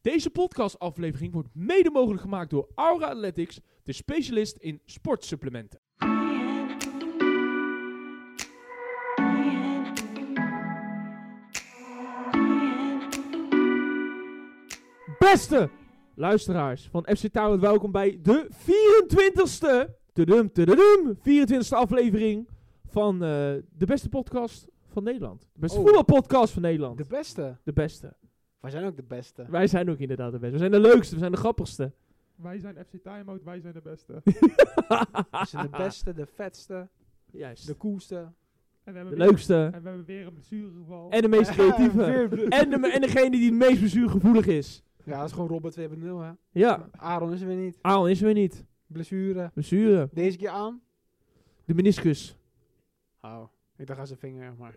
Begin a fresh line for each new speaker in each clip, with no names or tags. Deze podcastaflevering wordt mede mogelijk gemaakt door Aura Athletics, de specialist in sportsupplementen. Beste luisteraars van FC Talent, welkom bij de 24ste, tudum, tudum, 24ste aflevering van eh, de beste podcast van Nederland. De beste
Oh.
voetbalpodcast van Nederland.
De beste.
de beste.
Wij zijn ook de beste.
Wij zijn ook inderdaad de beste. We zijn de leukste, we zijn de grappigste.
Wij zijn FC Timeout, wij zijn de beste.
We zijn de beste, de vetste,
Juist.
de
De,
koelste.
En we hebben weer-
leukste.
En we hebben weer een blessuregeval.
En de meest creatieve.
Ja,
en, de, en degene die het meest bezuurgevoelig is.
dat is gewoon Robert 2.0 hè.
Ja,
Aaron is er weer niet.
Aaron is er weer niet.
Blessure.
Blessure.
Deze keer aan.
De meniscus.
Oh, ik dacht aan zijn vinger, maar...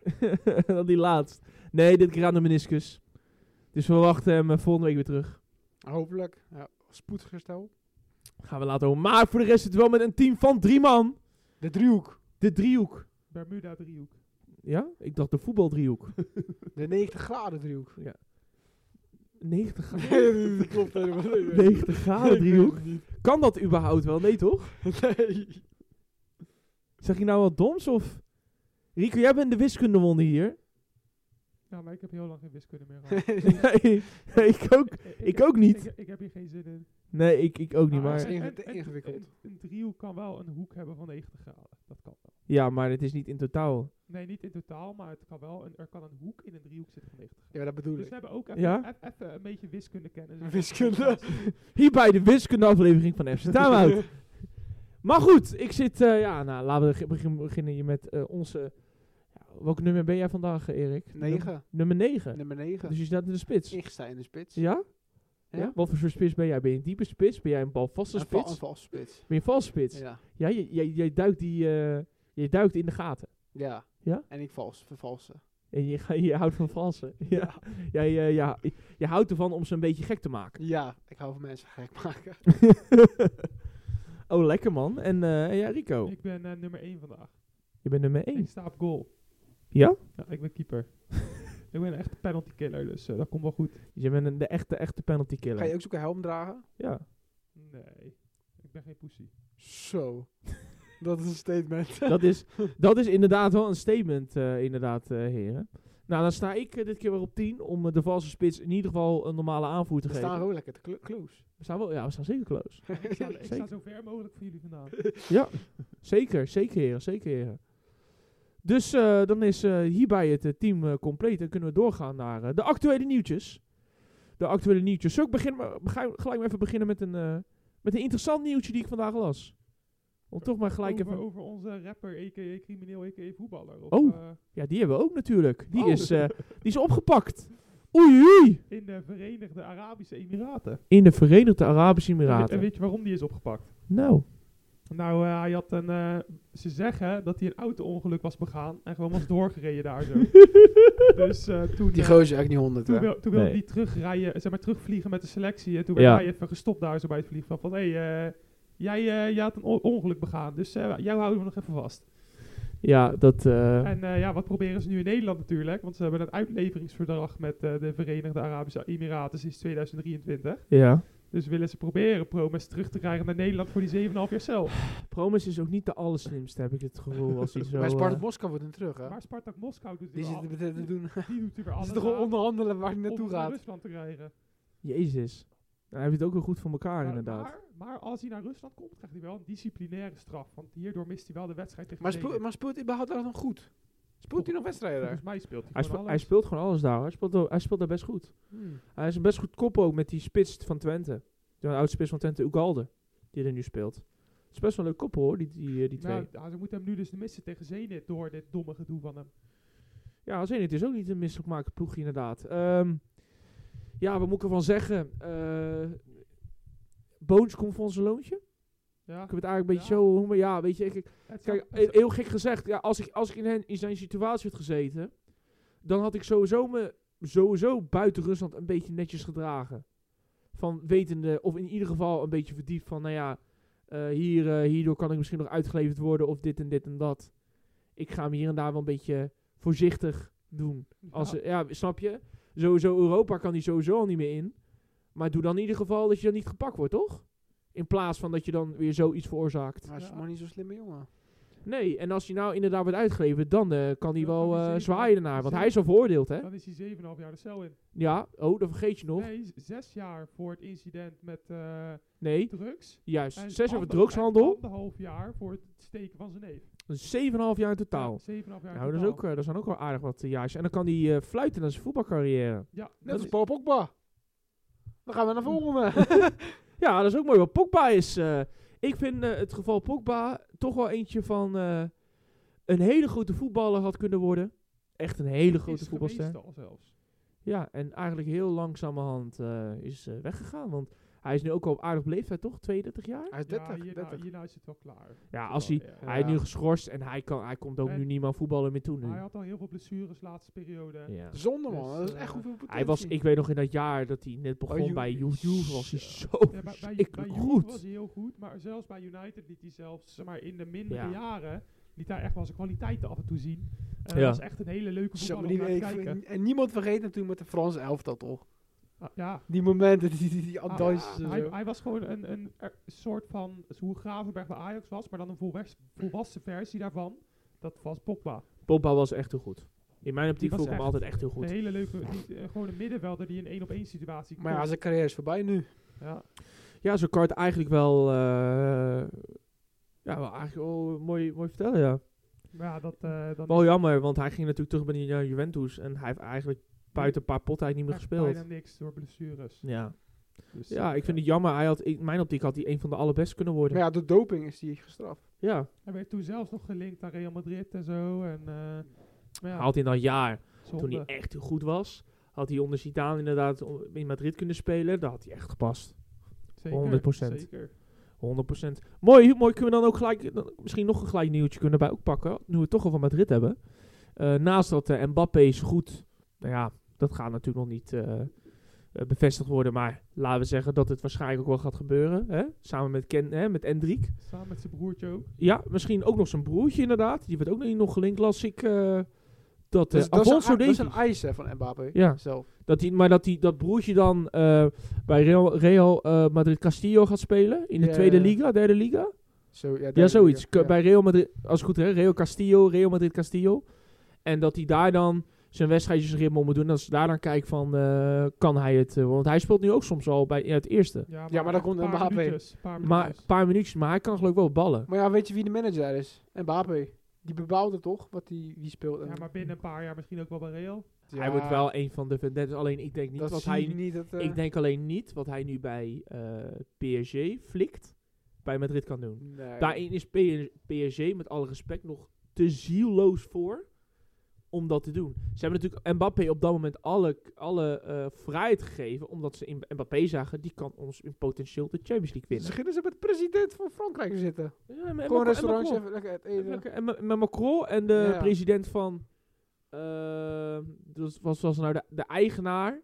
Dan die laatst. Nee, dit keer aan de meniscus. Dus we wachten hem eh, volgende week weer terug.
Hopelijk. Ja, spoedig herstel.
Gaan we later horen. Maar voor de rest zitten we wel met een team van drie man.
De driehoek.
De driehoek.
Bermuda driehoek.
Ja? Ik dacht de voetbaldriehoek.
De 90 graden driehoek.
90 graden.
Nee, dat klopt helemaal niet.
90 graden
Ik weet
driehoek.
het niet.
Kan dat überhaupt wel? Nee toch?
Nee.
Zeg je nou wat doms of... Rico, jij bent de wiskundewonde hier.
Nou, maar ik heb heel lang geen wiskunde meer gehad.
Nee, nee, ik ook,
ik,
ik
heb-
ook niet.
Ik, ik heb hier geen zin in.
Nee, ik, ik ook niet,
Ah,
dat is
maar...
en-
inge-
en- en-
ingewikkeld.
Een, een driehoek kan wel een hoek hebben van 90 graden. Dat kan wel.
Ja, maar het is niet in totaal.
Nee, niet in totaal, maar het kan wel een, er kan een hoek in een driehoek zitten van 90 graden.
Ja, maar dat bedoel
Dus we
ik.
hebben ook even,
Ja?
eff- even een beetje wiskunde kennen.
Wiskunde.
Hierbij de wiskundeaflevering van FC Timeout. maar goed, ik zit... eh, ja, nou, laten we ge- begin- beginnen hier met eh, onze... Ja, welk nummer ben jij vandaag, eh, Erik? Nummer-
9.
Nummer 9.
Nummer 9.
Dus je staat in de spits.
Ik sta in de spits.
Ja?
Ja.
ja? Wat voor soort spits ben jij? Ben je een diepe spits? Ben jij een balvaste
Een val-
spits?
een valse spits.
Ben je een valse spits? Ja,
Ja.
jij, jij, jij duikt die... eh, je duikt in de gaten.
Ja.
Ja?
En ik vals, vervalsen.
En je, ga- je houdt van valsen. Ja. Ja, ja, ja. Je, je houdt ervan om ze een beetje gek te maken.
Ja, ik hou van mensen gek maken.
oh, lekker man. En eh, ja, Rico.
Ik ben eh, nummer 1 vandaag.
Je bent nummer
Ik
1.
sta op goal.
Ja?
Ja, ik ben keeper. ik ben een echte penalty killer, dus eh, dat komt wel goed.
Dus je bent een, de echte, echte penalty
Ga
killer.
je ook zoeken helm dragen?
Ja.
Nee, ik ben geen pussy.
Zo. Dat is een statement.
Dat is, dat is inderdaad wel een statement, eh, inderdaad, eh, heren. Nou, dan sta ik eh, dit keer weer op 10 om eh, de valse spits in ieder geval een normale aanvoer te
We
geven.
staan gewoon lekker te clo- close.
we staan wel, ja, we staan zeker close.
Ik sta, ik
Zeker.
sta zo ver mogelijk van jullie vandaan.
ja, zeker, zeker heren, zeker heren. Dus eh, dan is eh, hierbij het eh, team eh, compleet en kunnen we doorgaan naar eh, de actuele nieuwtjes. De actuele nieuwtjes. Zullen ik begin, maar, ga- gelijk maar even beginnen met een, eh, met een interessant nieuwtje die ik vandaag las? Om toch maar gelijk
over,
even...
over onze rapper, a.k.a. crimineel, a.k.a. voetballer. Of,
Oh.
eh,
Ja, die hebben we ook natuurlijk. Die,
Oh.
is, eh, die is opgepakt. Oei, oei.
in de Verenigde Arabische Emiraten.
In de Verenigde Arabische
En
Emiraten.
weet je waarom die is opgepakt?
Nou,
Nou, eh, hij had een... eh, ze zeggen dat hij een auto-ongeluk was begaan en gewoon was doorgereden daar zo. dus eh, toen...
Die
eh,
gozer is echt niet 100,
toen
hè?
wil- toen wilde
Nee.
hij terugrijden, zeg maar terugvliegen met de selectie. En toen
Ja.
werd hij even gestopt daar zo bij het vliegveld. Van, hé, eh, jij, eh, jij had een on- ongeluk begaan, dus eh, jou houden we nog even vast.
ja, dat... eh,
En eh, ja, wat proberen ze nu in Nederland natuurlijk? Want ze hebben een uitleveringsverdrag met eh, de Verenigde Arabische Emiraten sinds 2023.
ja.
Dus willen ze proberen Promes terug te krijgen naar Nederland voor die 7,5 jaar cel.
Promes is ook niet de allerslimste, heb ik het gevoel. Als hij zo,
Bij
eh,
Sparta Moskou wordt hem terug, hè?
Maar Spartak Moskou doet
Die
weer al,
zitten met te doen.
die doet er weer
Ze
alles
zitten gewoon
aan
onderhandelen waar hij
om
naartoe
ze naar
gaat.
Rusland te krijgen. Eh,
Jezus. Nou, hij heeft het ook wel goed voor elkaar, inderdaad.
Maar, maar als hij naar Rusland komt, krijgt hij wel een disciplinaire straf. Want hierdoor mist hij wel de wedstrijd tegen
Maar,
Nederland.
speelt maar speelt hij überhaupt daar nog goed? Speelt hij nog wedstrijden daar?
Volgens mij speelt hij,
hij,
gewoon
spe- hij
alles.
speelt gewoon alles daar. hoor. Hij speelt, ook- hij speelt daar best goed.
Hmm.
Hij is een best goed kop ook met die spits van Twente. De oud spits van Twente, Ugalde, die er nu speelt. Het is best wel een leuk koppel hoor, die, die, eh, die twee.
Nou, ja, ze moeten hem nu dus missen tegen Zenit door dit domme gedoe van hem.
Ja, als één, het is ook niet een misselijkmaker ploegje inderdaad. Ehm, ja, wat moet ik ervan zeggen? Eh Boons komt van zijn loontje.
Ja,
Ik heb het eigenlijk een beetje
Ja.
zo... noemen. Ja, weet je, ik,
het zou-
Kijk,
het
eh,
zou-
heel gek gezegd, ja, als ik, als ik in, hen, in zijn situatie had gezeten, dan had ik sowieso me sowieso buiten Rusland een beetje netjes gedragen. Van wetende, of in ieder geval een beetje verdiept van, nou ja, eh, hier, eh, hierdoor kan ik misschien nog uitgeleverd worden, of dit en dit en dat. Ik ga hem hier en daar wel een beetje voorzichtig doen. eh, Als,
ja.
ja. ja, snap je? Sowieso Europa kan hij sowieso al niet meer in. Maar doe dan in ieder geval dat je dan niet gepakt wordt, toch? In plaats van dat je dan weer zoiets veroorzaakt.
Maar hij is
Ja.
maar niet zo'n slimme jongen.
Nee, en als hij nou inderdaad wordt uitgeleverd, dan eh, kan hij
Ja,
wel
dan is
eh,
hij-
zwaaien ernaar. Want hij is al veroordeeld, hè?
Dan is hij 7,5 jaar de cel in.
Ja, oh, dat vergeet je nog.
Nee, z- zes jaar voor het incident met eh,
Nee,
drugs.
juist.
En
Zes jaar voor
ander- en
drugshandel.
Anderhalf jaar voor het steken van zijn neef.
Dat is 7,5 jaar in totaal.
Ja, 7,5 jaar
Nou, dat, is
totaal.
ook, eh, dat zijn ook wel aardig wat eh, jaartjes. En dan kan hij eh, fluiten naar zijn voetbalcarrière.
Ja, dat
Net als
is-
Paul Pogba. Hmm. Dan gaan we naar volgende.
Ja, dat is ook mooi wat Pogba is. eh. ik vind eh, het geval Pogba toch wel eentje van eh, een hele grote voetballer had kunnen worden. Echt een hele grote
is
voetbalster.
geweest al zelfs.
Ja, en eigenlijk heel langzamerhand eh, is eh, weggegaan. Want hij is nu ook al op aardig leeftijd, toch? 32 jaar?
Hij is 30.
ja, hierna,
30.
hierna is het wel klaar.
Ja, als hij...
Ja. Ah,
Hij is nu geschorst en hij, kan, hij komt ook
En-
nu niet meer voetballen meer toe nu.
Hij had al heel veel blessures laatste periode.
Ja.
Zonde man,
Dus,
dat is
eh,
echt hoeveel potentie.
Hij was, ik weet nog in dat jaar dat hij
Oh,
net begon
Ju-
bij Ju- Juve, was hij zo
Ja, bij, bij, bij
verschrikkelijk
Juve was
goed.
hij heel goed, maar zelfs bij United liet hij zelfs zeg maar, in de mindere
Ja.
jaren liet hij echt wel zijn kwaliteiten af en toe zien. En
Ja.
Dat was echt een hele leuke
Zo,
voetballer
die-
om naar te
ik-
kijken.
en niemand vergeet natuurlijk met de Franse elftal toch.
Ah, ja.
Die momenten, die, die, die,
Ah,
dansjes en
hij,
zo.
hij was gewoon een, een er- soort van hoe Gravenberg bij Ajax was, maar dan een volwes- volwassen versie daarvan. Dat was Pogba.
Pogba was echt heel goed. In mijn optiek
Die was
vond ik hem
echt-
altijd echt heel
Een
goed.
hele leuke, die, eh, gewoon een middenvelder die in één op één situatie
Maar ja,
kon.
zijn carrière is voorbij nu.
ja.
Ja, zo kan je het eigenlijk wel... eh, ja, wel eigenlijk wel eh, mooi, mooi vertellen, ja.
Maar ja, dat, eh dan
Wel jammer, want hij ging natuurlijk terug bij naar Juventus. En hij heeft eigenlijk buiten een paar potten eigenlijk niet meer
bijna
gespeeld.
niks door blessures.
Ja,
Dus,
ja
eh,
ik vind het jammer. Hij had, in mijn optiek had hij een van de allerbest kunnen
Maar
worden.
ja, door doping is hij gestraft.
Ja,
Hij werd toen zelfs nog gelinkt aan Real Madrid en zo. En, eh, maar ja,
haalt in dat jaar
zonde.
Toen hij echt heel goed was, had hij onder Zidane inderdaad o- in Madrid kunnen spelen. Daar had hij echt gepast. 100%.
Zeker.
100%. Mooi, mooi kunnen we dan ook gelijk, dan misschien nog een gelijk nieuwtje kunnen bij ook pakken. Nu we het toch al van Madrid hebben. Eh, naast dat eh, Mbappé is goed. Nou ja, dat gaat natuurlijk nog niet eh, eh, bevestigd worden. Maar laten we zeggen dat het waarschijnlijk ook wel gaat gebeuren. Hè? Samen met, Ken, hè, met Endriek.
Samen met zijn broertje ook.
Ja, misschien ook nog zijn broertje inderdaad. Die werd ook nog niet nog gelinkt, las ik. eh, dat eh,
Dus dat, is
Alfonso
een, dat is
Davies-
een eis hè, van Mbappé
Ja.
zelf.
Dat die, maar dat, die, dat broertje dan eh, bij Real, Real eh, Madrid Castillo gaat spelen. In de
Ja.
tweede liga, derde liga.
Zo, ja,
Ja,
daar-
zoiets. K-
ja.
Bij Real Madrid, als het goed is, Real Castillo, Real Madrid Castillo. En dat hij daar dan zijn wedstrijdjesritme om moet doen. En als ze daar dan kijken van, eh, kan hij het? eh, want hij speelt nu ook soms al bij, in het eerste.
maar dan
echt
komt
een paar
Mbappé.
minuutjes, een paar
Maar een
minuutjes.
paar minuutjes, maar hij kan geloof ik wel ballen.
Maar ja, weet je wie de manager daar is? Mbappé. Die bepaalde toch wat die, wie speelt. en-
ja, maar binnen een paar jaar misschien ook wel bij Real.
Hij
Ja,
wordt wel een van de vendettes. Alleen ik denk niet
dat
wat
zie
hij...
je niet. Dat, eh,
Ik denk alleen niet wat hij nu bij eh, PSG flikt, bij Madrid kan doen.
nee.
Daarin is PS- PSG met alle respect nog te zieloos voor om dat te doen. Ze hebben natuurlijk Mbappé op dat moment alle, alle eh, vrijheid gegeven, omdat ze in Mbappé zagen, die kan ons in potentieel de Champions League
Ze
winnen.
beginnen ze met de president van Frankrijk te zitten.
Ja, maar- en
Gewoon
Macron- en
restaurants
Macron.
even lekker eten.
Lekker, En met- met Macron en de
Ja.
president van, eh, dat was, was nou de, de eigenaar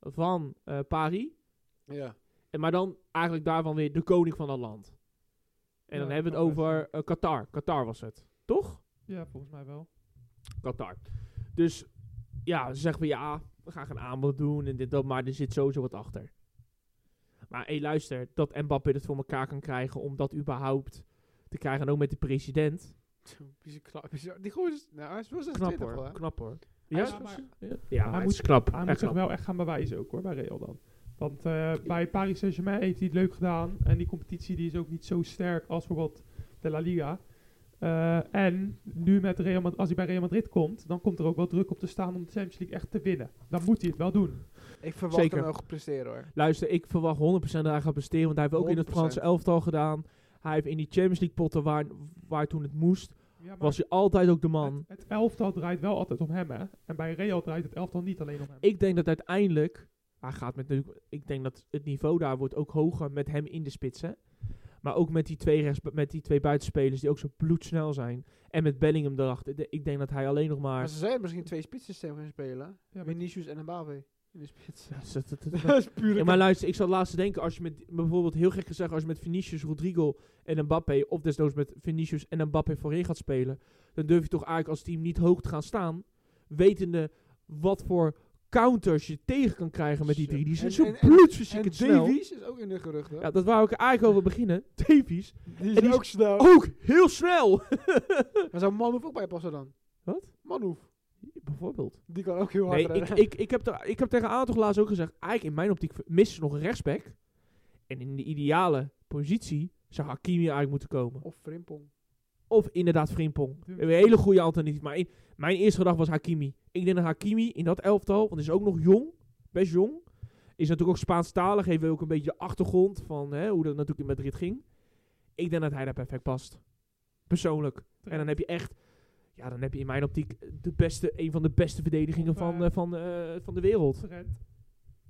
van eh, Paris,
Ja.
en, maar dan eigenlijk daarvan weer de koning van dat land. En
Ja,
dan hebben we
dat
het
kan
over
best.
eh, Qatar. Qatar was het, toch?
Ja, volgens mij wel.
Qatar. Dus ja, ze zeggen we ja, we gaan geen aanbod doen en dit dat, maar er zit sowieso wat achter. Maar hé, luister, dat Mbappé het voor elkaar kan krijgen om dat überhaupt te krijgen, en ook met de president.
Bizar, knap, bizar. Die gozer is, nou, hij is wel 26
Knap hoor,
al, hè?
knap hoor.
Hij
Ja,
is
ja,
wel
maar-
zo-
Hij
hij
moet-
is knap.
Hij
echt
moet zich
knap.
wel echt gaan bewijzen ook hoor, bij Real dan. Want eh, bij Paris Saint-Germain heeft hij het leuk gedaan. En die competitie die is ook niet zo sterk als bijvoorbeeld de La Liga. Eh, en nu met Real Mad- als hij bij Real Madrid komt, dan komt er ook wel druk op te staan om de Champions League echt te winnen. Dan moet hij het wel doen.
Ik verwacht
Zeker.
hem wel gepresteerd hoor.
Luister, ik verwacht 100% dat hij gaat presteren, want hij heeft ook in het
100%.
Franse elftal gedaan. Hij heeft in die Champions League potten waar, waar toen het moest, was hij altijd ook de man.
Het, het elftal draait wel altijd om hem, hè? En bij Real draait het elftal niet alleen om hem.
Ik denk dat uiteindelijk. Hij gaat met natuurlijk. Ik denk dat het niveau daar wordt ook hoger met hem in de spitsen. Maar ook met die twee, rechts, met die twee buitenspelers die ook zo bloedsnel zijn. En met Bellingham erachter. De- Ik denk dat hij alleen nog
Maar
maar.
ze zijn misschien twee spitsen gaan spelen.
Ja, maar-
Vinicius en Mbappé in de spits.
Ja, zet het- het-
dat is pure
Ja, maar luister, ik zat laatst te denken. Als je met bijvoorbeeld heel gek gezegd. Als je met Vinicius, Rodrigo en Mbappé. Of desnoods met Vinicius en Mbappé voorin gaat spelen. Dan durf je toch eigenlijk als team niet hoog te gaan staan. Wetende wat voor counters je tegen kan krijgen met die
Zo.
drie. Die zijn
En-
zo
en- en- En
bloedverziekend snel.
Davies is ook in de geruchten.
Ja, dat wou ik er eigenlijk over beginnen. Davies.
die is
en die is- Oh!
ook snel.
Ook heel snel.
Maar zou Manhoef ook bij passen dan?
Wat?
Manhoef.
Bijvoorbeeld.
Die kan ook heel hard
Nee, ik,
rennen.
ik, ik, heb er, ik heb tegen Aan toch laatst ook gezegd. Eigenlijk in mijn optiek missen ze nog een rechtsback. En in de ideale positie zou Hakimi eigenlijk moeten komen.
Of Frimpong.
Of inderdaad Frimpong. We
Ja.
hebben een hele goede alternatief. Maar in- mijn eerste gedachte was Hakimi. Ik denk dat Hakimi in dat elftal, want hij is ook nog jong, best jong. Is natuurlijk ook Spaanstalig, heeft ook een beetje de achtergrond van hè, hoe dat natuurlijk in Madrid ging. Ik denk dat hij daar perfect past. Persoonlijk. En dan heb je echt, ja, dan heb je in mijn optiek de beste, een van de beste verdedigingen
Of,
van,
eh,
eh, van, eh, van de wereld.
Trent,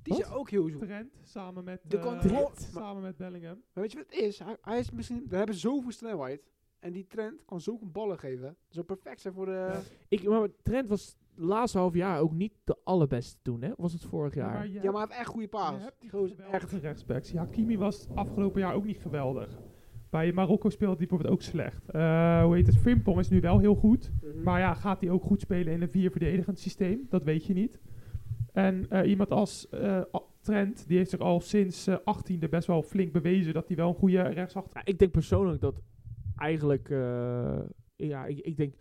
Die
Wat?
zijn ook heel zoek.
Trent samen met
De
eh,
controle-
samen met Bellingham.
Maar weet je wat het is? Hij, hij is misschien... We hebben zoveel snelheid. En die trend kan zulke ballen geven. Zo perfect zijn voor de...
Ik, maar Trent was het laatste half jaar ook niet de allerbeste toen, hè? Of was het vorig jaar?
Maar je
Ja, maar hij heeft echt goede
hebt-
paas.
je hebt
die
niet
gozer is echt...
geweldige rechtsbacks. Ja, Hakimi was afgelopen jaar ook niet geweldig. Bij Marokko speelde hij bijvoorbeeld ook slecht. Eh, hoe heet het? Frimpong is nu wel heel goed.
Mhm.
Maar ja, gaat hij ook goed spelen in een vierverdedigend systeem? Dat weet je niet. En eh, iemand als eh, A- Trent, die heeft zich al sinds eh, 18e best wel flink bewezen dat hij wel een goede rechtsachter
Ja, ik denk persoonlijk dat eigenlijk... eh, ja, ik, ik denk...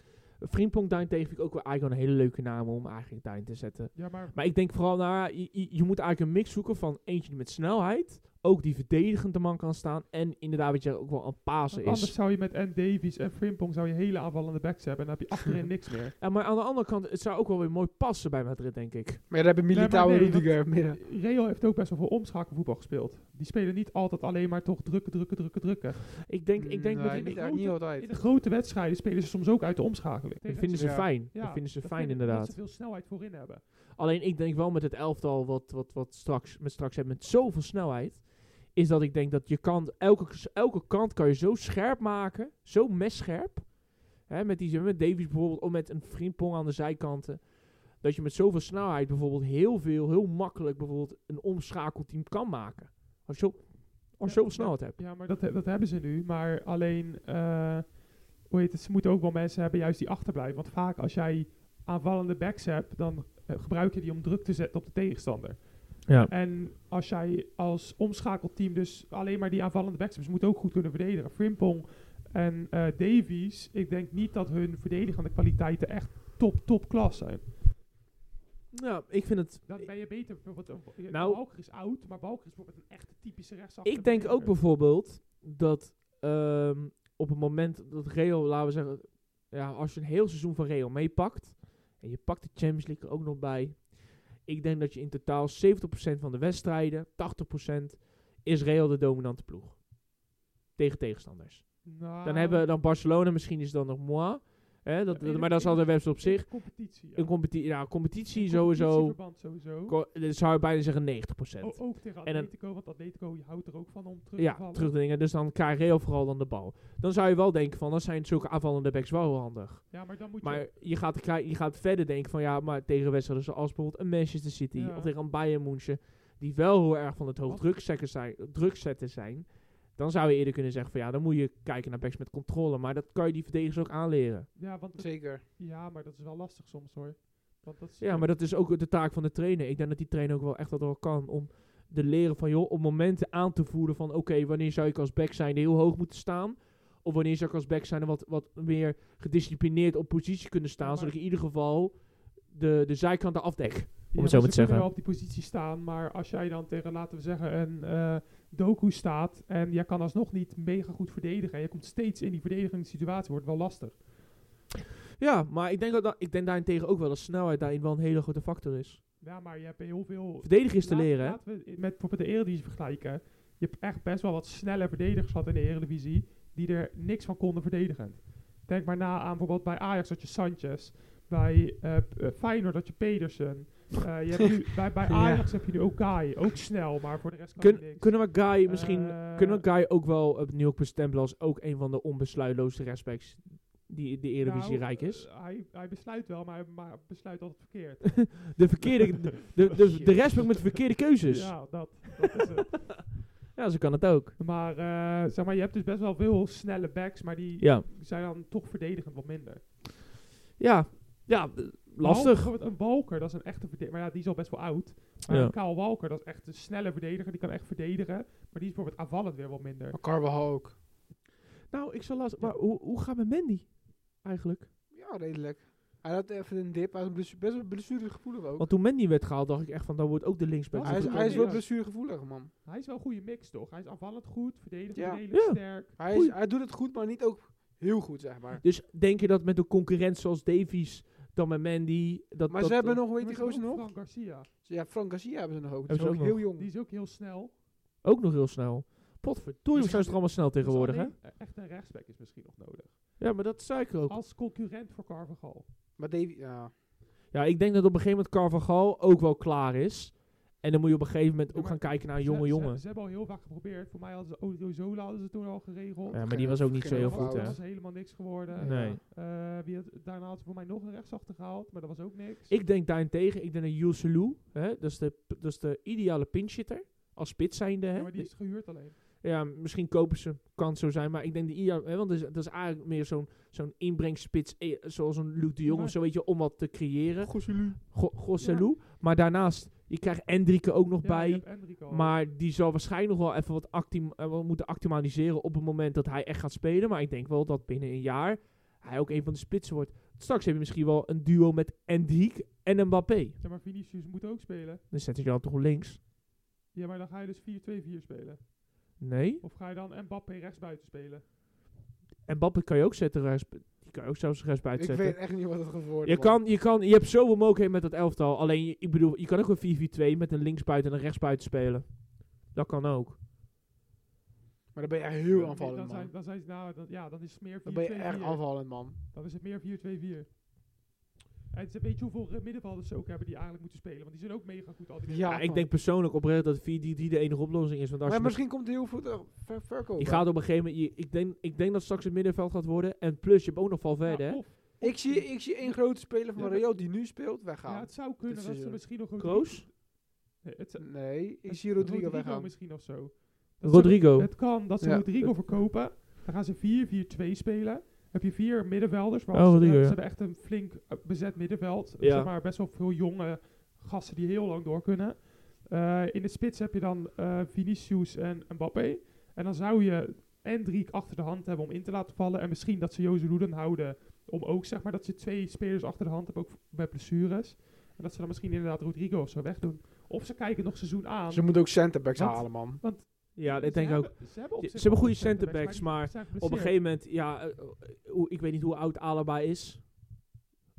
Frimpong daarentegen vind ik ook wel eigenlijk wel een hele leuke naam om eigenlijk daarin te zetten.
Ja, maar
Maar ik denk vooral, nou, ja, je, je- je moet eigenlijk een mix zoeken van eentje die met snelheid... ook die verdedigend de man kan staan... en inderdaad wat je ook wel aan
want
Pasen
anders
is.
zou je met N. Davies en Frimpong zou je hele aanvallende backs hebben. En dan heb je achterin niks meer.
Ja, maar aan de andere kant, het zou ook wel weer mooi passen bij Madrid, denk ik.
Maar daar hebben
Nee, maar
Militao
nee,
en Rudiger midden.
Real heeft ook best wel veel omschakelvoetbal gespeeld. Die spelen niet altijd alleen maar toch drukken, drukken, drukken, drukken.
Ik denk, ik denk
Nee,
met
niet,
die-
eigenlijk niet
In
altijd.
de grote wedstrijden spelen ze soms ook uit de omschakeling.
dat vinden ze
Ja.
fijn.
Ja,
dat vinden ze
dat
fijn,
vind ik,
inderdaad.
Dat ze veel snelheid voorin hebben.
Alleen ik denk wel met het elftal wat, wat, wat straks, met straks hebben met zoveel snelheid. Is dat ik denk dat je kan, elke, elke kant kan je zo scherp maken. Zo messcherp. Hè, met, die, met Davies bijvoorbeeld, of met een Frimpong aan de zijkanten. Dat je met zoveel snelheid bijvoorbeeld heel veel, heel makkelijk bijvoorbeeld een omschakelteam kan maken. Als je, zo- als je
Ja,
zoveel snelheid hebt.
Ja, maar dat, he- dat hebben ze nu. Maar alleen, eh, hoe heet het, ze moeten ook wel mensen hebben juist die achterblijven. Want vaak als jij aanvallende backs hebt, dan eh, gebruik je die om druk te zetten op de tegenstander.
Ja.
En als jij als omschakelteam dus alleen maar die aanvallende backs hebt, ze moeten ook goed kunnen verdedigen. Frimpong en eh, Davies, ik denk niet dat hun verdedigende kwaliteiten echt top, top klas zijn.
Nou, ik vind het
Dan ben je beter. bijvoorbeeld een-
Nou-
Walker is oud, maar Walker is bijvoorbeeld een echte typische rechtsachter.
Ik denk ook
verdediger.
bijvoorbeeld dat ehm, op het moment dat Real, laten we zeggen, ja, als je een heel seizoen van Real meepakt en je pakt de Champions League er ook nog bij, ik denk dat je in totaal 70% van de wedstrijden, 80% is Real de dominante ploeg tegen tegenstanders.
Nou,
Dan hebben we dan Barcelona misschien is dan nog moi, hè, dat,
Ja, maar
maar dat is al de wedstrijd op
in
zich.
de Competitie. ja.
Een competitie, ja, competitie
In
sowieso,
competitieverband sowieso.
ko- dat zou je bijna zeggen 90%.
O- ook tegen
En een-
Atletico, want Atletico je houdt er ook van om terug te
Ja,
vallen.
terug te dingen. Dus dan krijgt Real vooral dan de bal. Dan zou je wel denken van, dan zijn zulke aanvallende backs wel heel handig.
Ja, maar dan moet
Maar
je...
je gaat, krij- je gaat verder denken van, ja, maar tegen wedstrijden zoals bijvoorbeeld een Manchester City
Ja.
of tegen een Bayern München, die wel heel erg van het hoog
Wat?
druk zetten zijn, druk zetten zijn, dan zou je eerder kunnen zeggen van, ja, dan moet je kijken naar backs met controle. Maar dat kan je die verdedigers ook aanleren.
Ja, want dat-
Zeker.
ja, maar dat is wel lastig soms hoor. Want dat is,
Ja, maar dat is ook de taak van de trainer. Ik denk dat die trainer ook wel echt dat wel kan om de leren van joh, op momenten aan te voeren van oké, wanneer zou ik als back zijn heel hoog moeten staan? Of wanneer zou ik als back zijn wat, wat meer gedisciplineerd op positie kunnen staan,
Ja, maar-
zodat ik in ieder geval de, de zijkanten afdek.
Ja,
het zo
maar
maar te
ze
zeggen.
kunnen wel op die positie staan, maar als jij dan tegen, laten we zeggen, een eh doku staat en jij kan alsnog niet mega goed verdedigen en je komt steeds in die verdedigingssituatie, wordt wel lastig.
Ja, maar ik denk, dat, dat- ik denk daarentegen ook wel dat snelheid daarin wel een hele grote factor is.
Ja, maar je hebt heel veel...
Verdedigen is te
Laat-
leren, hè?
Laten we met bijvoorbeeld de Eredivisie vergelijken. Je hebt echt best wel wat snelle verdedigers gehad in de Eredivisie die er niks van konden verdedigen. Denk maar na aan bijvoorbeeld bij Ajax dat je Sanchez, bij eh, p- eh, Feyenoord dat je Pedersen. Eh, je hebt nu, bij, bij
Ja.
Ajax heb je nu ook Kai, ook snel, maar voor de rest kan
Kun-
je niks.
kunnen we Guy misschien
Eh,
kunnen we Guy ook wel opnieuw ook bestempelen als ook een van de onbesluitloosste respects die de Eredivisie
nou,
rijk is?
eh, hij, hij besluit wel, maar hij maar besluit altijd verkeerd.
De verkeerde, de, de, de, de rest ook met verkeerde keuzes. Ja.
Ja, dat, dat is het.
zo kan het ook.
Maar eh, zeg maar, je hebt dus best wel veel snelle backs, maar die
Ja,
zijn dan toch verdedigend wat minder.
ja, ja. eh, lastig.
Bijvoorbeeld een Walker, dat is een echte verdediger. Maar ja, die is al best wel oud. Maar
Ja.
een Kyle Walker, dat is echt een snelle verdediger. Die kan echt verdedigen. Maar die is bijvoorbeeld aanvallend weer wat minder.
Maar Carvajal ook.
Nou, ik zal lastig. Maar hoe, hoe gaat het met Mandy eigenlijk?
Ja, redelijk. Hij had even een dip. Hij was blessu- best wel blessuregevoelig ook.
Want toen Mandy werd gehaald, dacht ik echt van, dan wordt ook de linksback.
Ja,
hij, is,
goed.
hij is wel
Ja.
blessuregevoelig, man.
Hij is wel een goede mix, toch? Hij is aanvallend goed, verdedigend
Ja.
redelijk
Ja.
sterk.
Hij, is,
Oei.
hij doet het goed, maar niet ook heel goed, zeg maar.
Dus denk je dat met een concurrent zoals Davies, dan met Mandy... Dat,
Maar
dat,
ze hebben
eh,
nog, weet je
Maar
die gozer
ook
nog?
Fran Garcia.
Ja, Frank Garcia hebben ze nog ook. Die is
Hebben
ook
ze ook
heel jong.
Die is ook heel snel.
ook nog heel snel. Potverdorie,
Dus
zijn ze er allemaal snel tegenwoordig, hè?
Dus alleen, eh, Echt een rechtsback is misschien nog nodig.
Ja, maar dat zei ik ook.
Als concurrent voor Carvajal.
Maar Davy, ja.
Ja, ik denk dat op een gegeven moment Carvajal ook wel klaar is. En dan moet je op een gegeven moment
Ja,
ook
maar
gaan kijken naar een
Ze-
jonge
ze,
jongen.
Ze, hebben al heel vaak geprobeerd. Voor mij hadden ze Odriozola hadden ze toen al geregeld.
Ja, maar die was ook niet zo heel
Dat
goed, hè?
was helemaal niks geworden.
Nee.
Eh, wie had, daarna had ze voor mij nog een rechtsachter gehaald, maar dat was ook niks.
Ik denk daarentegen, ik denk dat Jules Lou, hè, dat, is de, dat is de ideale pinchitter. Als spits zijnde, hè?
ja, maar die is gehuurd alleen.
Ja, misschien kopen ze, kan het zo zijn. Maar ik denk de IA, hè, want dat is, dat is eigenlijk meer zo'n zo'n inbrengspits, eh, zoals een Luc de Jong
Ja.
of zo, weet je, om wat te creëren.
Goed, jullie.
Go- Gosselu. Maar daarnaast, je krijgt Endrike ook nog
Ja, je
bij.
hebt Enrico al.
Maar die zal waarschijnlijk nog wel even wat acti- eh, wel moeten actualiseren op het moment dat hij echt gaat spelen. Maar ik denk wel dat binnen een jaar hij ook een van de spitsen wordt. Straks heb je misschien wel een duo met Endriek en Mbappé.
Ja, maar Vinicius moet ook spelen.
Dan zet je dan toch links?
Ja, maar dan ga je dus 4-2-4 spelen.
Nee.
Of ga je dan Mbappé rechtsbuiten spelen?
En Mbappé kan je ook zetten. rechts- Die kan je ook zelfs rechts
Ik
buiten
weet
zetten.
echt niet wat het gaat worden.
Je,
man.
kan, je, kan, je hebt zoveel mogelijkheden met dat elftal. Alleen, je- ik bedoel, je kan ook een 4-4-2 met een linksbuiten en een rechtsbuiten spelen. Dat kan ook.
Maar dan ben je echt heel
Dan-
aanvallend,
dan zijn,
man.
dan zijn ze nou, dan, ja, dan is het meer 4-2-4.
Dan ben je echt aanvallend, man.
Dan is het meer 4-2-4. En ze weet je hoeveel eh, middenvelders ze ook hebben die eigenlijk moeten spelen. Want die zijn ook mega goed al die
Ja,
Ja, ik
man.
denk persoonlijk oprecht dat 4-3-3 de enige oplossing is. Want als
Maar
je met-
misschien komt hij heel goed eh, ver verkopen.
Je gaat op een gegeven moment, je- ik, denk, ik denk dat straks het middenveld gaat worden. En plus, je hebt ook nog Valverde.
Ja,
oh,
hè?
of,
Ik zie, ik zie één grote speler van
Ja, maar-
Real die nu speelt
ja,
weggaan.
het zou kunnen
Dit
dat ze
seizoen.
misschien nog...
Kroos,
Nee, het,
Nee, eh, ik
het-
zie Rodrigo weggaan.
misschien of zo. Dat ze-
Rodrigo.
Het kan dat ze
Ja.
Rodrigo verkopen. Dan gaan ze 4-4-2 spelen. Heb je vier middenvelders. Maar
Oh,
ze,
Rodrigo,
ze
ja.
hebben echt een flink eh, bezet middenveld.
Ja.
Zeg maar best wel veel jonge gasten die heel lang door kunnen. Eh, in de spits heb je dan eh, Vinicius en Mbappé. En dan zou je Endriek achter de hand hebben om in te laten vallen. En misschien dat ze Jozef Roeden houden. Om ook zeg maar dat ze twee spelers achter de hand hebben. Ook bij blessures. En dat ze dan misschien inderdaad Rodrigo of zo wegdoen. Of ze kijken nog seizoen aan.
Ze moeten ook centerbacks
Wat?
halen, man.
Ja,
Ze
dat denk ik ook.
hebben- Ze hebben, op
Ja,
zich
ze hebben
wel
goede
goede
centerbacks, maar
die zijn
Op een
geblesseerd.
gegeven moment, ja, eh, hoe- ik weet niet hoe oud Alaba is.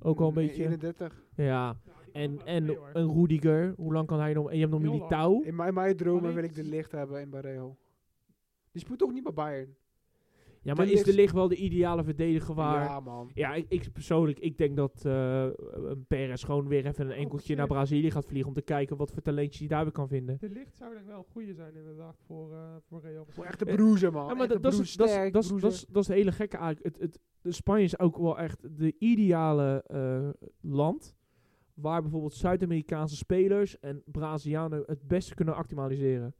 Ook al een beetje.
31.
Ja,
Nou, die
en,
kan wel
en
mee, hoor.
een Rudiger, hoe lang kan hij nog? En je hebt nog
Heel
Militao.
In mijn, mijn dromen
Alleen-
wil ik de licht hebben in Barreo. Die speelt toch niet bij Bayern?
Ja, maar
De
is de
licht-
licht wel de ideale verdediger waar? Ja,
Ja, man.
ik, ik persoonlijk, ik denk dat eh een Perez gewoon weer even een enkeltje
Oh, shit. Oh,
naar Brazilië gaat vliegen om te kijken wat voor talentjes hij daar weer kan vinden.
De licht zou denk ik wel een goede zijn inderdaad voor, eh voor Real.
Voor echte
Eh,
broezen, man.
Ja, maar
Echte
dat, dat,
broers,
is, dat, is,
sterk
dat, is,
broezen.
dat, is, dat is de hele gekke eigenlijk. Het, het, de Spanje is ook wel echt de ideale eh, land waar bijvoorbeeld Zuid-Amerikaanse spelers en Brazilianen het beste kunnen actualiseren.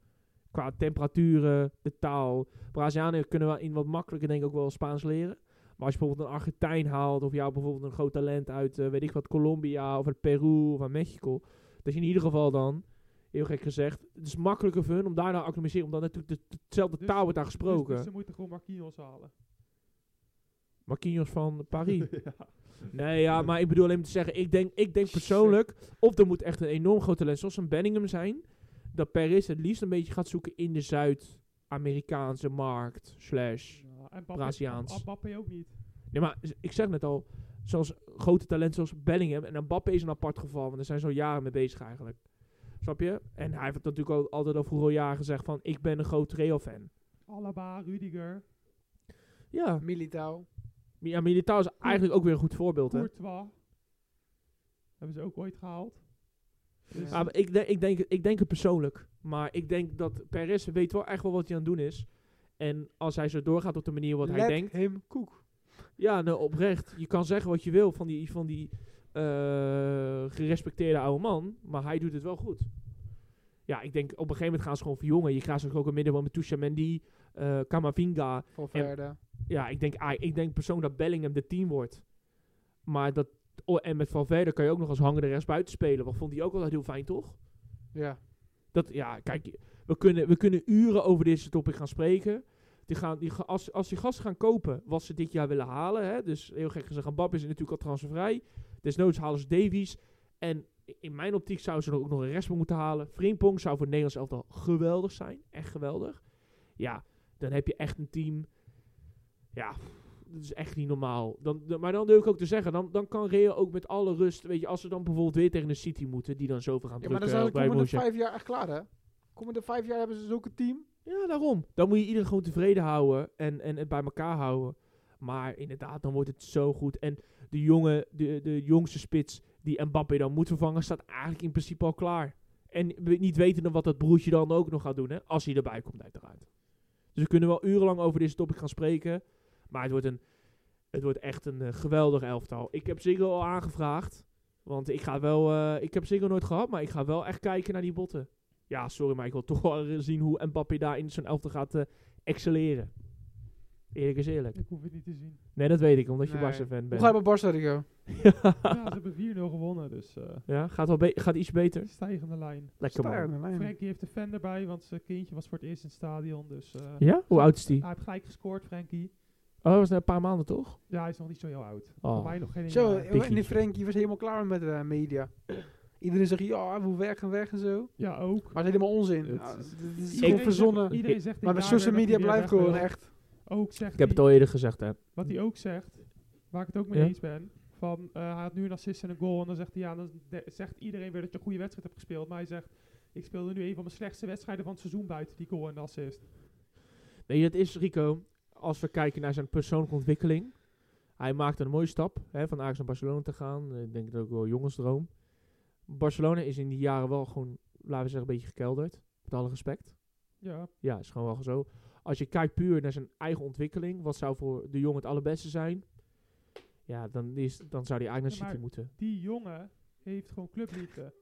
Qua temperaturen, de taal. Brazilianen kunnen wel in wat makkelijker denk ik ook wel Spaans leren. Maar als je bijvoorbeeld een Argentijn haalt of jou bijvoorbeeld een groot talent uit, eh, weet ik wat, Colombia of uit Peru of uit Mexico. Dat je in ieder geval dan, heel gek gezegd, het is makkelijker voor hun om daar naar actualiseren. Omdat natuurlijk de- de- dezelfde
Dus-
taal wordt daar
Dus-
gesproken.
Dus ze moeten gewoon Marquinhos halen.
Marquinhos van Paris.
ja.
nee, ja, maar ik bedoel alleen maar te zeggen, ik denk, ik denk persoonlijk, of er moet echt een enorm groot talent zoals een Benningham zijn, dat Paris het liefst een beetje gaat zoeken in de Zuid-Amerikaanse markt, slash.
Ja, en Mbappé-
Braziliaans.
Mbappé ook niet.
Nee, maar z- ik zeg net al, zoals grote talenten zoals Bellingham en Mbappé is een apart geval, want daar zijn ze al jaren mee bezig eigenlijk. Snap je? En hij heeft natuurlijk al, altijd al vroeger al jaren gezegd van, ik ben een groot Real-fan.
Alaba, Rudiger,
Ja,
Militao.
Mi- ja Militao is eigenlijk ook weer een goed voorbeeld, hè?
Courtois. Hebben ze ook ooit gehaald. Dus-
Ja, maar ik, denk, ik, denk, ik denk het persoonlijk. Maar ik denk dat Perez weet wel echt wel wat hij aan het doen is. En als hij zo doorgaat op de manier wat hij
Let
denkt.
him cook.
Ja, nou oprecht. Je kan zeggen wat je wil van die, van die eh, gerespecteerde oude man. Maar hij doet het wel goed. Ja, ik denk op een gegeven moment gaan ze gewoon verjongen. Je krijgt straks ook een middenman met Tusha Mendy, eh Kamavinga.
Van verder.
Ja, ik denk, ah, ik denk persoonlijk dat Bellingham de team wordt. Maar dat o- en met Valverde kan je ook nog als hangende rechtsbuiten spelen. Wat vond hij ook altijd heel fijn, toch?
Ja.
Dat, ja, kijk, we kunnen, we kunnen uren over deze topic gaan spreken. Die gaan, die, ga- als, als die gasten gaan kopen wat ze dit jaar willen halen, hè, dus heel gek gezegd, Mbappé is natuurlijk al transfervrij. Desnoods halen ze Davies. En i- in mijn optiek zouden ze er ook nog een rechtsback moeten halen. Frimpong zou voor het Nederlands elftal geweldig zijn. Echt geweldig. Ja, dan heb je echt een team. Ja, dat is echt niet normaal. Dan, dan- maar dan wil ik ook te zeggen, dan, dan kan Real ook met alle rust, weet je, als ze dan bijvoorbeeld weer tegen de City moeten, die dan zoveel gaan
Ja,
drukken.
maar dan zijn de
eh, bij
komende
Borussia.
vijf jaar echt klaar, hè? Komende vijf jaar hebben ze zulke team.
Ja, daarom. Dan moet je iedereen gewoon tevreden houden en, en het bij elkaar houden. Maar inderdaad, dan wordt het zo goed. En de, jonge, de, de jongste spits die Mbappé dan moet vervangen, staat eigenlijk in principe al klaar. En we- niet wetende wat dat broertje dan ook nog gaat doen, hè, als hij erbij komt uiteraard. Dus we kunnen wel urenlang over deze topic gaan spreken. Maar het wordt, een, het wordt echt een eh, geweldig elftal. Ik heb Ziggo al aangevraagd. Want ik ga wel... eh, ik heb Ziggo nooit gehad, maar ik ga wel echt kijken naar die botten. Ja, sorry, maar ik wil toch wel eh, zien hoe Mbappé daar in zo'n elftal gaat eh, excelleren. Eerlijk is eerlijk.
Ik hoef het niet te zien.
Nee, dat weet ik, omdat je
Nee.
Barca-fan
Hoe
bent.
ga je met Barca, Rico?
ja, ze hebben 4-0 gewonnen, dus eh,
Ja, gaat, wel be- gaat iets beter.
stijgende lijn.
Lekker man.
Frankie heeft de fan erbij, want zijn kindje was voor het eerst in het stadion. Dus, eh,
Ja? Hoe oud is die?
Hij heeft gelijk gescoord, Frankie.
Oh, dat was net een paar maanden toch?
Ja, hij is nog niet zo heel oud.
Oh.
Voor mij nog geen
Zo, eh,
jaar.
en die
Biggie.
Frankie was helemaal klaar met de media. Iedereen zegt, ja, we weg en weg en zo.
Ja, ook.
Maar het is helemaal onzin.
Het
Ja,
is-
Dit is
Ik-
gewoon verzonnen.
Zegt, iedereen zegt
Maar
dit
met
jaar
social
weer dat
media
hij weer
blijft
weg
gewoon
wil.
echt.
Ook zegt
Ik heb
hij-
het al eerder gezegd, hè.
Wat hij ook zegt, waar ik het ook mee
Ja?
eens ben. Van, eh, hij had nu een assist en een goal. En dan zegt hij, ja, dan de- zegt iedereen weer dat je een goede wedstrijd hebt gespeeld. Maar hij zegt, ik speelde nu een van mijn slechtste wedstrijden van het seizoen buiten die goal en de assist.
Nee, dat is Rico. Als we kijken naar zijn persoonlijke ontwikkeling. Hij maakte een mooie stap hè, van Ajax naar Barcelona te gaan. Eh, Ik denk dat ook wel jongensdroom. Barcelona is in die jaren wel gewoon, laten we zeggen, een beetje gekelderd. Met alle respect.
Ja,
Ja, is gewoon wel zo. Als je kijkt puur naar zijn eigen ontwikkeling, wat zou voor de jongen het allerbeste zijn? Ja, dan, is, dan zou hij eigenlijk
Ja,
naar City
maar-
moeten.
die jongen heeft gewoon clubliefde.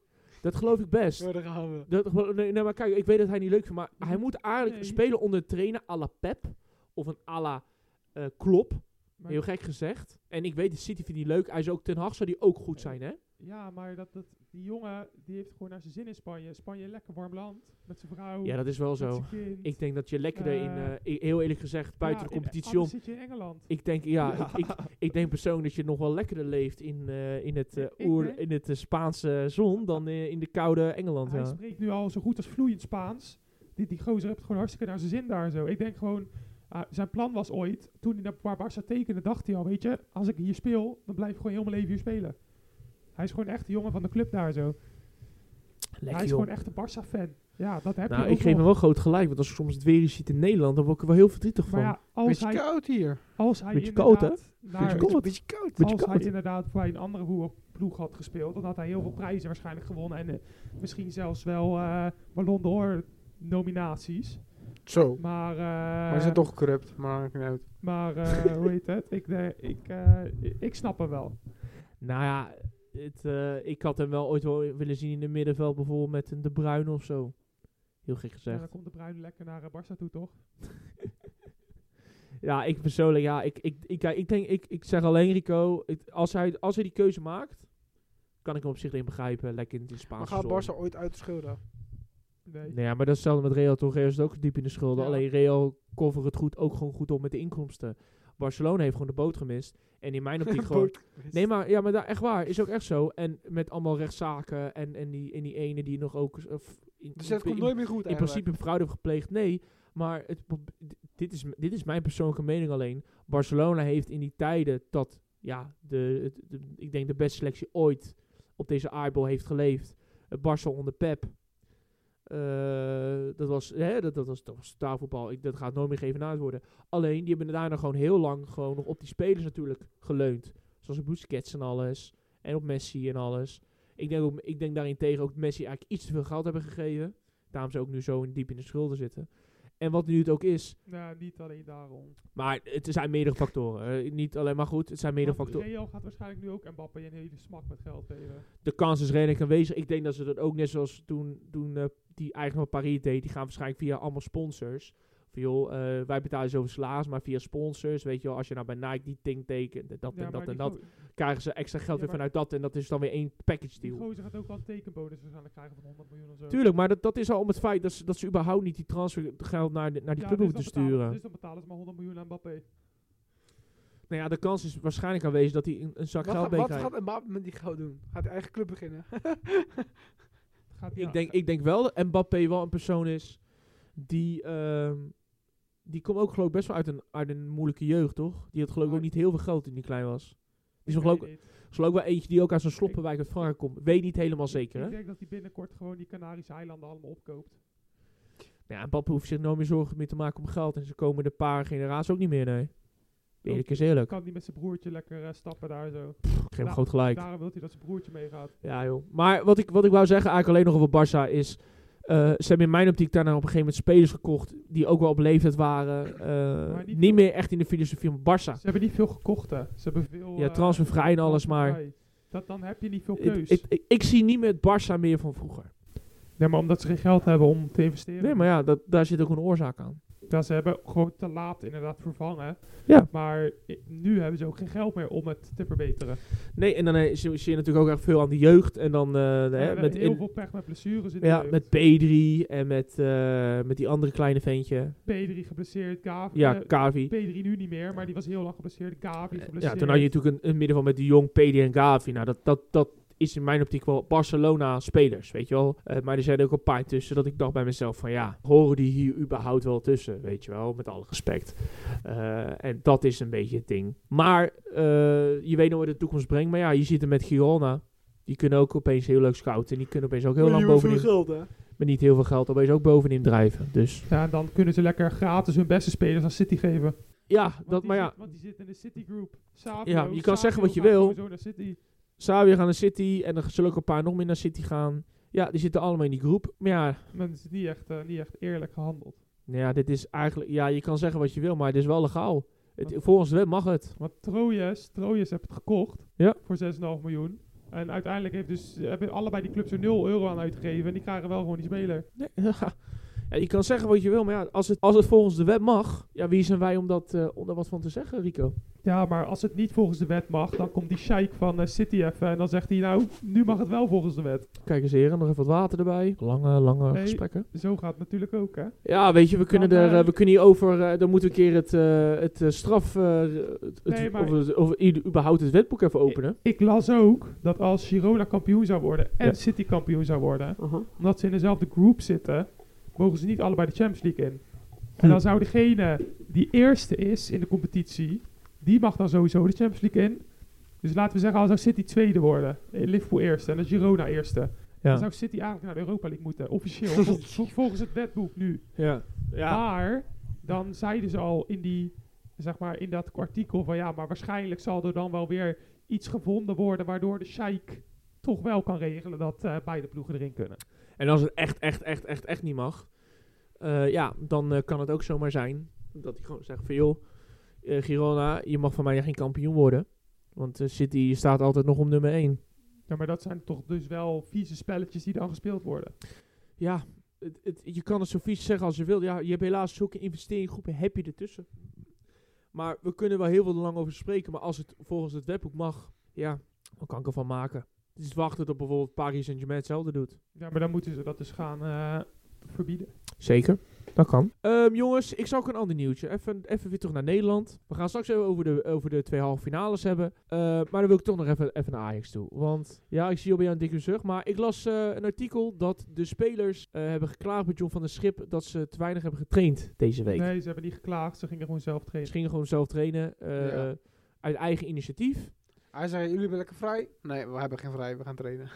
Dat geloof ik best.
Ja, daar gaan we.
Dat, gewoon- nee, nee, maar kijk, ik weet dat hij niet leuk vindt, maar hij moet eigenlijk
Mhm. Nee.
spelen onder een trainer à la Pep of een à la eh, Klopp.
Maar-
Heel gek gezegd. En ik weet, de City vindt hij leuk. Hij is ook Ten Hag, zou die ook goed zijn, hè?
Ja, maar dat, dat, die jongen die heeft gewoon naar zijn zin in Spanje. Spanje, lekker warm land. Met zijn vrouw,
Ja, dat is wel
met
zo.
zijn kind.
Ik denk dat je lekkerder in,
Eh,
eh, i- heel eerlijk gezegd, buiten
Ja,
de
in-
competitie om.
anders zit je in Engeland.
Ik denk, ja, Ik, ik, ik denk persoonlijk dat je nog wel lekkerder leeft in, eh, in het, eh,
Ik
oer,
denk-
in het eh, Spaanse zon dan eh, in de koude Engeland.
Hij
Ja.
spreekt nu al zo goed als vloeiend Spaans. Die, die gozer heeft het gewoon hartstikke naar zijn zin daar en zo. Ik denk gewoon, ah, zijn plan was ooit, toen hij naar Bar- Barca tekende, dacht hij al, weet je, als ik hier speel, dan blijf ik gewoon heel mijn leven hier spelen. Hij is gewoon echt de jongen van de club daar zo. hij
Lekker
is
joh.
gewoon echt een Barca-fan. Ja, dat heb
Nou,
je ook
ik geef hem
nog.
wel groot gelijk, want als ik soms het weer eens ziet in Nederland, dan word ik er wel heel verdrietig van.
Maar ja, als
Beetje
hij,
koud hier.
als hij
Beetje
inderdaad
koud, hè?
naar-
Beetje koud.
Beetje koud.
Beetje
als
koud.
hij inderdaad bij een andere hoe- ploeg had gespeeld, dan had hij heel veel prijzen waarschijnlijk gewonnen. En eh, misschien zelfs wel eh Ballon d'Or nominaties.
Zo.
Maar, eh,
Maar ze zijn toch corrupt. Maar maakt niet uit.
maar eh, hoe heet het? Ik, denk- ik, eh, ik snap hem wel.
Nou ja, het, eh, ik had hem wel ooit wel willen zien in het middenveld, bijvoorbeeld met een De Bruyne of zo. Heel gek
Ja,
gezegd.
dan komt de Bruin lekker naar eh, Barca toe, toch?
Ja, ik persoonlijk, ja, ik, ik, ik, ik, denk, ik, ik zeg alleen Rico, ik- als, hij, als hij die keuze maakt, kan ik hem op zich in begrijpen, lekker in de
Maar
Spaanse
gaat
zon.
Barca ooit uit de schulden?
Nee.
Nee, ja, maar dat is hetzelfde met Real toch? Real is ook diep in de schulden.
Ja.
Alleen Real covert het goed, ook gewoon goed op met de inkomsten. Barcelona heeft gewoon de boot gemist. En in mijn optiek gewoon... Nee, maar, ja, maar daar, echt waar. Is ook echt zo. En met allemaal rechtszaken en, en, die, en die ene die nog ook... eh, f- in,
Dus dat
in-
komt nooit meer goed
in
eigenlijk.
principe fraude heeft gepleegd. Nee, maar het, pro- d- dit, is, m- dit is mijn persoonlijke mening alleen. Barcelona heeft in die tijden dat, ja, de, het- de- ik denk de beste selectie ooit op deze aardbol heeft geleefd. Het Barcel onder Pep. Eh, dat, was, hè, dat, dat was dat was taalvoetbal. Ik, dat gaat nooit meer geëvenaard worden. Alleen, die hebben daarna gewoon heel lang gewoon nog op die spelers natuurlijk geleund. Zoals op Busquets en alles. En op Messi en alles. Ik denk, ook, ik denk daarentegen ook dat Messi eigenlijk iets te veel geld hebben gegeven. Daarom ze ook nu zo in, diep in de schulden zitten. En wat nu het ook is.
Nou, niet alleen daarom.
Maar het zijn meerdere factoren. Eh, niet alleen maar goed, het zijn meerdere
Want
factoren.
Real gaat waarschijnlijk nu ook Mbappé een hele smak met geld geven.
De kans is redelijk aanwezig. Ik denk dat ze dat ook net zoals toen, toen eh, die eigenaar van Paris deed. Die gaan waarschijnlijk via allemaal sponsors. Van joh, eh, wij betalen zoveel salaris, maar via sponsors, weet je wel, als je nou bij Nike die ding tekent, dat
Ja,
en
maar
dat
die
en dat,
go-
krijgen ze extra geld
Ja,
weer
maar-
vanuit dat en dat is dan weer één package
Die
deal.
gozer gaat ook wel een tekenbonus waarschijnlijk krijgen van 100 miljoen of zo.
Tuurlijk, maar dat, dat is al om het feit dat ze, dat ze überhaupt niet die transfergeld naar, de- naar die
Ja,
club
dus
hoeven te
dan betalen-
sturen.
Dus dan betalen ze maar 100 miljoen aan Mbappé.
Nou ja, de kans is waarschijnlijk aanwezig dat hij een, een zak
Wat, gaat-
geld mee
wat
krijgt.
gaat Mbappé met die geld doen? Gaat hij eigen club beginnen?
Gaat,
Ik, denk, ik denk wel dat Mbappé wel een persoon is die... ehm, die komt ook geloof ik best wel uit een, uit een moeilijke jeugd, toch? Die had geloof ik ook niet heel veel geld toen hij klein was. Die is nog ook, is nog ook wel eentje die ook uit zo'n sloppenwijk uit Frankrijk komt. Weet niet helemaal zeker, hè?
Ik denk dat hij binnenkort gewoon die Canarische eilanden allemaal opkoopt.
Nou ja, Mbappé hoeft zich nooit meer zorgen meer te maken om geld. En ze komen de paar generaties ook niet meer, nee. Eerlijk is
Dan
eerlijk.
kan hij met zijn broertje lekker eh, stappen daar zo.
Pff, ik geef hem
Nou,
groot gelijk.
Daarom wil hij dat zijn broertje meegaat.
Ja, joh. Maar wat ik, wat ik wou zeggen eigenlijk alleen nog over Barça is... eh, ze hebben in mijn optiek daarna op een gegeven moment spelers gekocht... die ook wel op leeftijd waren. eh,
Maar
niet
niet veel.
meer echt in de filosofie van Barça.
Ze hebben niet veel gekocht, hè. Ze hebben veel...
Ja,
eh,
transfervrij en alles, maar...
transfervrij. Dat, dan heb je niet veel
Ik,
keus.
ik, ik, ik zie niet meer het Barça meer van vroeger.
nee, maar omdat ze geen geld hebben om te investeren.
Nee, maar ja, dat, daar zit ook een oorzaak aan.
Ja, ze hebben gewoon te laat inderdaad vervangen.
Ja.
Maar i- nu hebben ze ook geen geld meer om het te verbeteren.
Nee, en dan eh, zie, zie je natuurlijk ook echt veel aan de jeugd. En dan eh,
Ze
hè,
hebben
met,
heel
in-
veel pech met blessures in de
ja,
jeugd.
met P3 en met, eh, met die andere kleine ventje.
P3 geblesseerd, Gavi.
Ja,
eh,
Kavi.
P3 nu niet meer, maar die was heel lang geblesseerd. Gavi
Eh, Ja,
geblesseerd.
toen had je natuurlijk een, een middenveld met de Jong, Pedi en Gavi. Nou, dat, dat, dat is in mijn optiek wel Barcelona-spelers, weet je wel. Eh, maar er zijn er ook een paar tussen dat ik dacht bij mezelf van ja, horen die hier überhaupt wel tussen, weet je wel, met alle respect. Eh, en dat is een beetje het ding. Maar eh, je weet nog wat de toekomst brengt, maar ja, je ziet het met Girona. Die kunnen ook opeens heel leuk scouten. Die kunnen opeens ook heel lang
Miljoen voor
bovenin,
geld, hè?
met niet heel veel geld, opeens ook bovenin drijven. Dus
Ja, en dan kunnen ze lekker gratis hun beste spelers aan City geven.
ja,
Want
dat,
die
maar
zit-
ja,
Want die zitten in de City Group. Savio,
Ja, je kan
Savio
zeggen wat je
gaat
wil.
sowieso naar City.
Sabi gaan naar City en er zullen ook een paar nog meer naar City gaan. Ja, die zitten allemaal in die groep. Maar ja,
Maar het is niet echt, eh, niet echt eerlijk gehandeld.
nou ja, dit is eigenlijk... Ja, je kan zeggen wat je wil, maar het is wel legaal. Het, volgens de wet mag het.
Want Trojes, Trojes heeft het gekocht
Ja.
voor 6,5 miljoen. En uiteindelijk heeft dus, hebben allebei die clubs er 0 euro aan uitgegeven. En die krijgen wel gewoon die speler.
Nee, ja. Ja, je kan zeggen wat je wil, maar ja, als het, als het volgens de wet mag... Ja, wie zijn wij om, dat, eh, om daar wat van te zeggen, Rico?
Ja, maar als het niet volgens de wet mag, dan komt die sheik van eh, City even. En dan zegt hij, nou, nu mag het wel volgens de wet.
Kijk eens heren, nog even wat water erbij. Lange, lange
Nee.
gesprekken.
Zo gaat het natuurlijk ook, hè.
Ja, weet je, we kunnen,
Dan,
er,
eh,
eh, we kunnen hierover... eh, dan moeten we een keer het, eh, het eh, straf... eh, het, het-
Nee, maar-
of, het- of i- überhaupt het wetboek even openen.
Ik las ook dat als Girona kampioen zou worden en
Ja. Uh-huh.
City kampioen zou worden, omdat ze in dezelfde groep zitten, mogen ze niet allebei de Champions League in. En
Hm.
dan zou degene die eerste is in de competitie, die mag dan sowieso de Champions League in. Dus laten we zeggen, als zou City tweede worden, eh, Liverpool eerste en dan Girona eerste, dan zou City eigenlijk naar de Europa League moeten, officieel, vol- vol- volgens het wetboek nu.
Ja. ja.
Maar dan zeiden ze al in die, zeg maar, in dat artikel van ja, maar waarschijnlijk zal er dan wel weer iets gevonden worden waardoor de sheik toch wel kan regelen dat eh, beide ploegen erin kunnen.
En als het echt, echt, echt, echt, echt niet mag, eh, ja, dan eh, kan het ook zomaar zijn dat hij gewoon zegt van joh, eh, Girona, je mag van mij geen kampioen worden. Want eh, City staat altijd nog om nummer 1.
Ja, maar dat zijn toch dus wel vieze spelletjes die dan gespeeld worden.
Ja, het, het, je kan het zo vies zeggen als je wil. Ja, je hebt helaas zulke investeringsgroepen, heb je ertussen. Maar we kunnen wel heel veel lang over spreken. Maar als het volgens het wetboek mag, ja, dan kan ik ervan maken. Het is wachten tot bijvoorbeeld Paris Saint-Germain hetzelfde doet.
Ja, maar dan moeten ze dat dus gaan eh, verbieden.
Zeker, dat kan. Ehm, jongens, ik zou ook een ander nieuwtje. Even, even weer terug naar Nederland. We gaan straks even over de, over de twee halve finales hebben. Eh, maar dan wil ik toch nog even, even naar Ajax toe. Want ja, ik zie al bij jou een dikke zucht. Maar ik las eh, een artikel dat de spelers eh, hebben geklaagd bij John van der Schip dat ze te weinig hebben getraind deze week.
Nee, ze hebben niet geklaagd, ze gingen gewoon zelf
Ze
trainen.
gingen gewoon zelf trainen. eh,
Ja.
Uit eigen initiatief.
Hij zei, jullie hebben lekker vrij? Nee, we hebben geen vrij, we gaan trainen.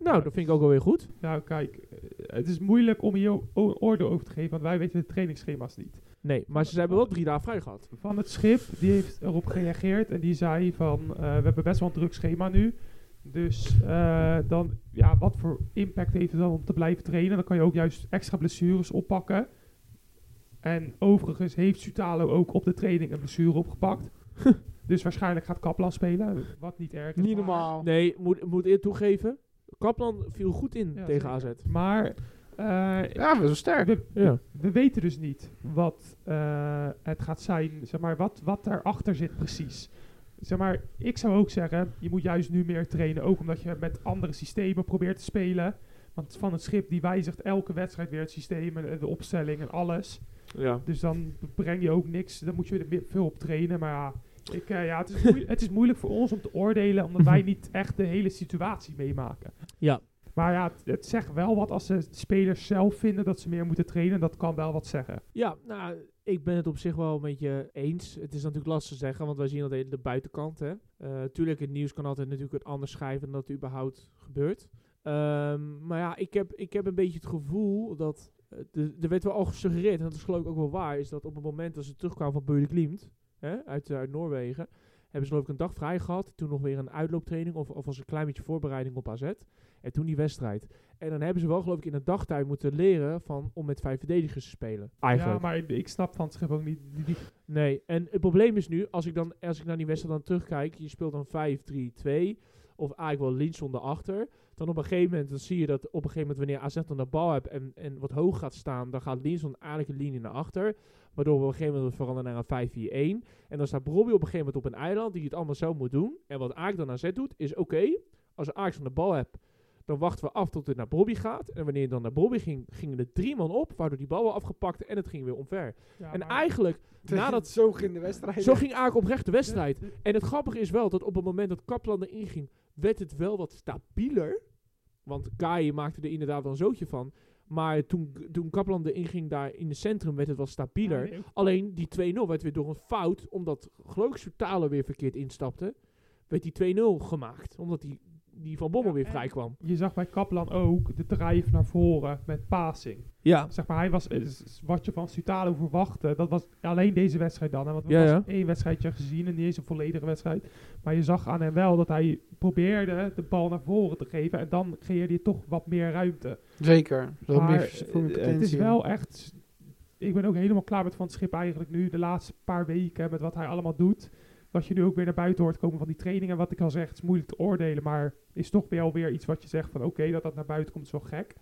Nou, dat vind ik ook alweer goed.
Nou, kijk, eh, het is moeilijk om hier o- een oordeel over te geven, want wij weten de trainingsschema's niet.
Nee, maar ze hebben wel drie dagen vrij gehad.
Van het schip, die heeft erop gereageerd en die zei van, eh, we hebben best wel een druk schema nu. Dus eh, dan, ja, wat voor impact heeft het dan om te blijven trainen? Dan kan je ook juist extra blessures oppakken. En overigens heeft Sutalo ook op de training een blessure opgepakt. dus waarschijnlijk gaat Kaplan spelen, wat niet erg is.
Niet
maar-
normaal.
Nee, moet, moet eerlijk toegeven. Kaplan viel goed in
Ja,
tegen
zeker.
AZ.
Maar Eh,
Ja, best wel sterk.
we,
Ja.
we weten dus niet wat eh, het gaat zijn, zeg maar, wat, wat daarachter zit precies. Zeg maar, ik zou ook zeggen, je moet juist nu meer trainen, ook omdat je met andere systemen probeert te spelen. Want van het schip die wijzigt elke wedstrijd weer het systeem en eh, de opstelling en alles.
Ja.
Dus dan breng je ook niks. Dan moet je er meer- veel op trainen. Maar ja, ik, eh, ja het, is moeil- het is moeilijk voor ons om te oordelen. Omdat wij niet echt de hele situatie meemaken.
Ja.
Maar ja, het, het zegt wel wat als de spelers zelf vinden dat ze meer moeten trainen. Dat kan wel wat zeggen.
Ja, nou, ik ben het op zich wel een beetje eens. Het is natuurlijk lastig te zeggen, want wij zien altijd de buitenkant. Hè. Eh, tuurlijk, het nieuws kan altijd natuurlijk het anders schrijven dan dat het überhaupt gebeurt. Ehm, maar ja, ik heb, ik heb een beetje het gevoel dat... eh, de- er werd wel al gesuggereerd, en dat is geloof ik ook wel waar... is dat op het moment dat ze terugkwamen van Beude Glimt, hè, uit, eh, uit Noorwegen... hebben ze geloof ik een dag vrij gehad. Toen nog weer een uitlooptraining of, of als een klein beetje voorbereiding op AZ. En toen die wedstrijd. En dan hebben ze wel geloof ik in een dagtuin moeten leren... Van, om met vijf verdedigers te spelen. Eigenlijk.
Ja, maar ik, ik snap van het schip ook niet. die- die-
Nee, en het probleem is nu, als ik, dan, als ik naar die wedstrijd dan terugkijk, je speelt dan 5-3-2, of eigenlijk wel Linson erachter. Dan op een gegeven moment, dan zie je dat op een gegeven moment wanneer AZ dan de bal hebt en, en wat hoog gaat staan, dan gaat Linson eigenlijk een linie naar achter. Waardoor we op een gegeven moment veranderen naar een 5-4-1. En dan staat Robbie op een gegeven moment op een eiland die het allemaal zelf moet doen. En wat Aak dan AZ doet, is oké, als Aak dan de bal hebt, dan wachten we af tot het naar Bobby gaat. En wanneer het dan naar Bobby ging, gingen er drie man op, waardoor die bal wel afgepakt en het ging weer omver.
Ja,
en
maar-
eigenlijk, nadat
zo ging de wedstrijd.
zo ging Aak oprecht de wedstrijd. En het grappige is wel dat op het moment dat Kaplan erin ging, werd het wel wat stabieler. Want Kai maakte er inderdaad wel een zootje van. Maar toen, toen Kaplan erin ging daar in het centrum, werd het wat
Ah, Ja,
stabieler.
nee, ook-
Alleen die 2-0 werd weer door een fout, omdat geloof ik Soutalo weer verkeerd instapte, werd die 2-0 gemaakt. Omdat die, die Van Bommel
Ja,
weer
en-
vrij kwam.
Je zag bij Kaplan ook de drijf naar voren met passing.
Ja.
Zeg maar, hij was eh, s- s- wat je van Sutalo verwachtte. Dat was alleen deze wedstrijd dan. Hè? Want we
Ja,
hebben
ja.
één wedstrijdje gezien en niet eens een volledige wedstrijd. Maar je zag aan hem wel dat hij probeerde de bal naar voren te geven. En dan creëerde je toch wat meer ruimte.
Zeker. Dat
maar
maar,
eh, het is wel echt... s- Ik ben ook helemaal klaar met Van het Schip eigenlijk nu. De laatste paar weken met wat hij allemaal doet. Dat je nu ook weer naar buiten hoort komen van die trainingen. Wat ik al zeg, het is moeilijk te oordelen. Maar is toch wel weer iets wat je zegt van oké, dat dat naar buiten komt is wel gek.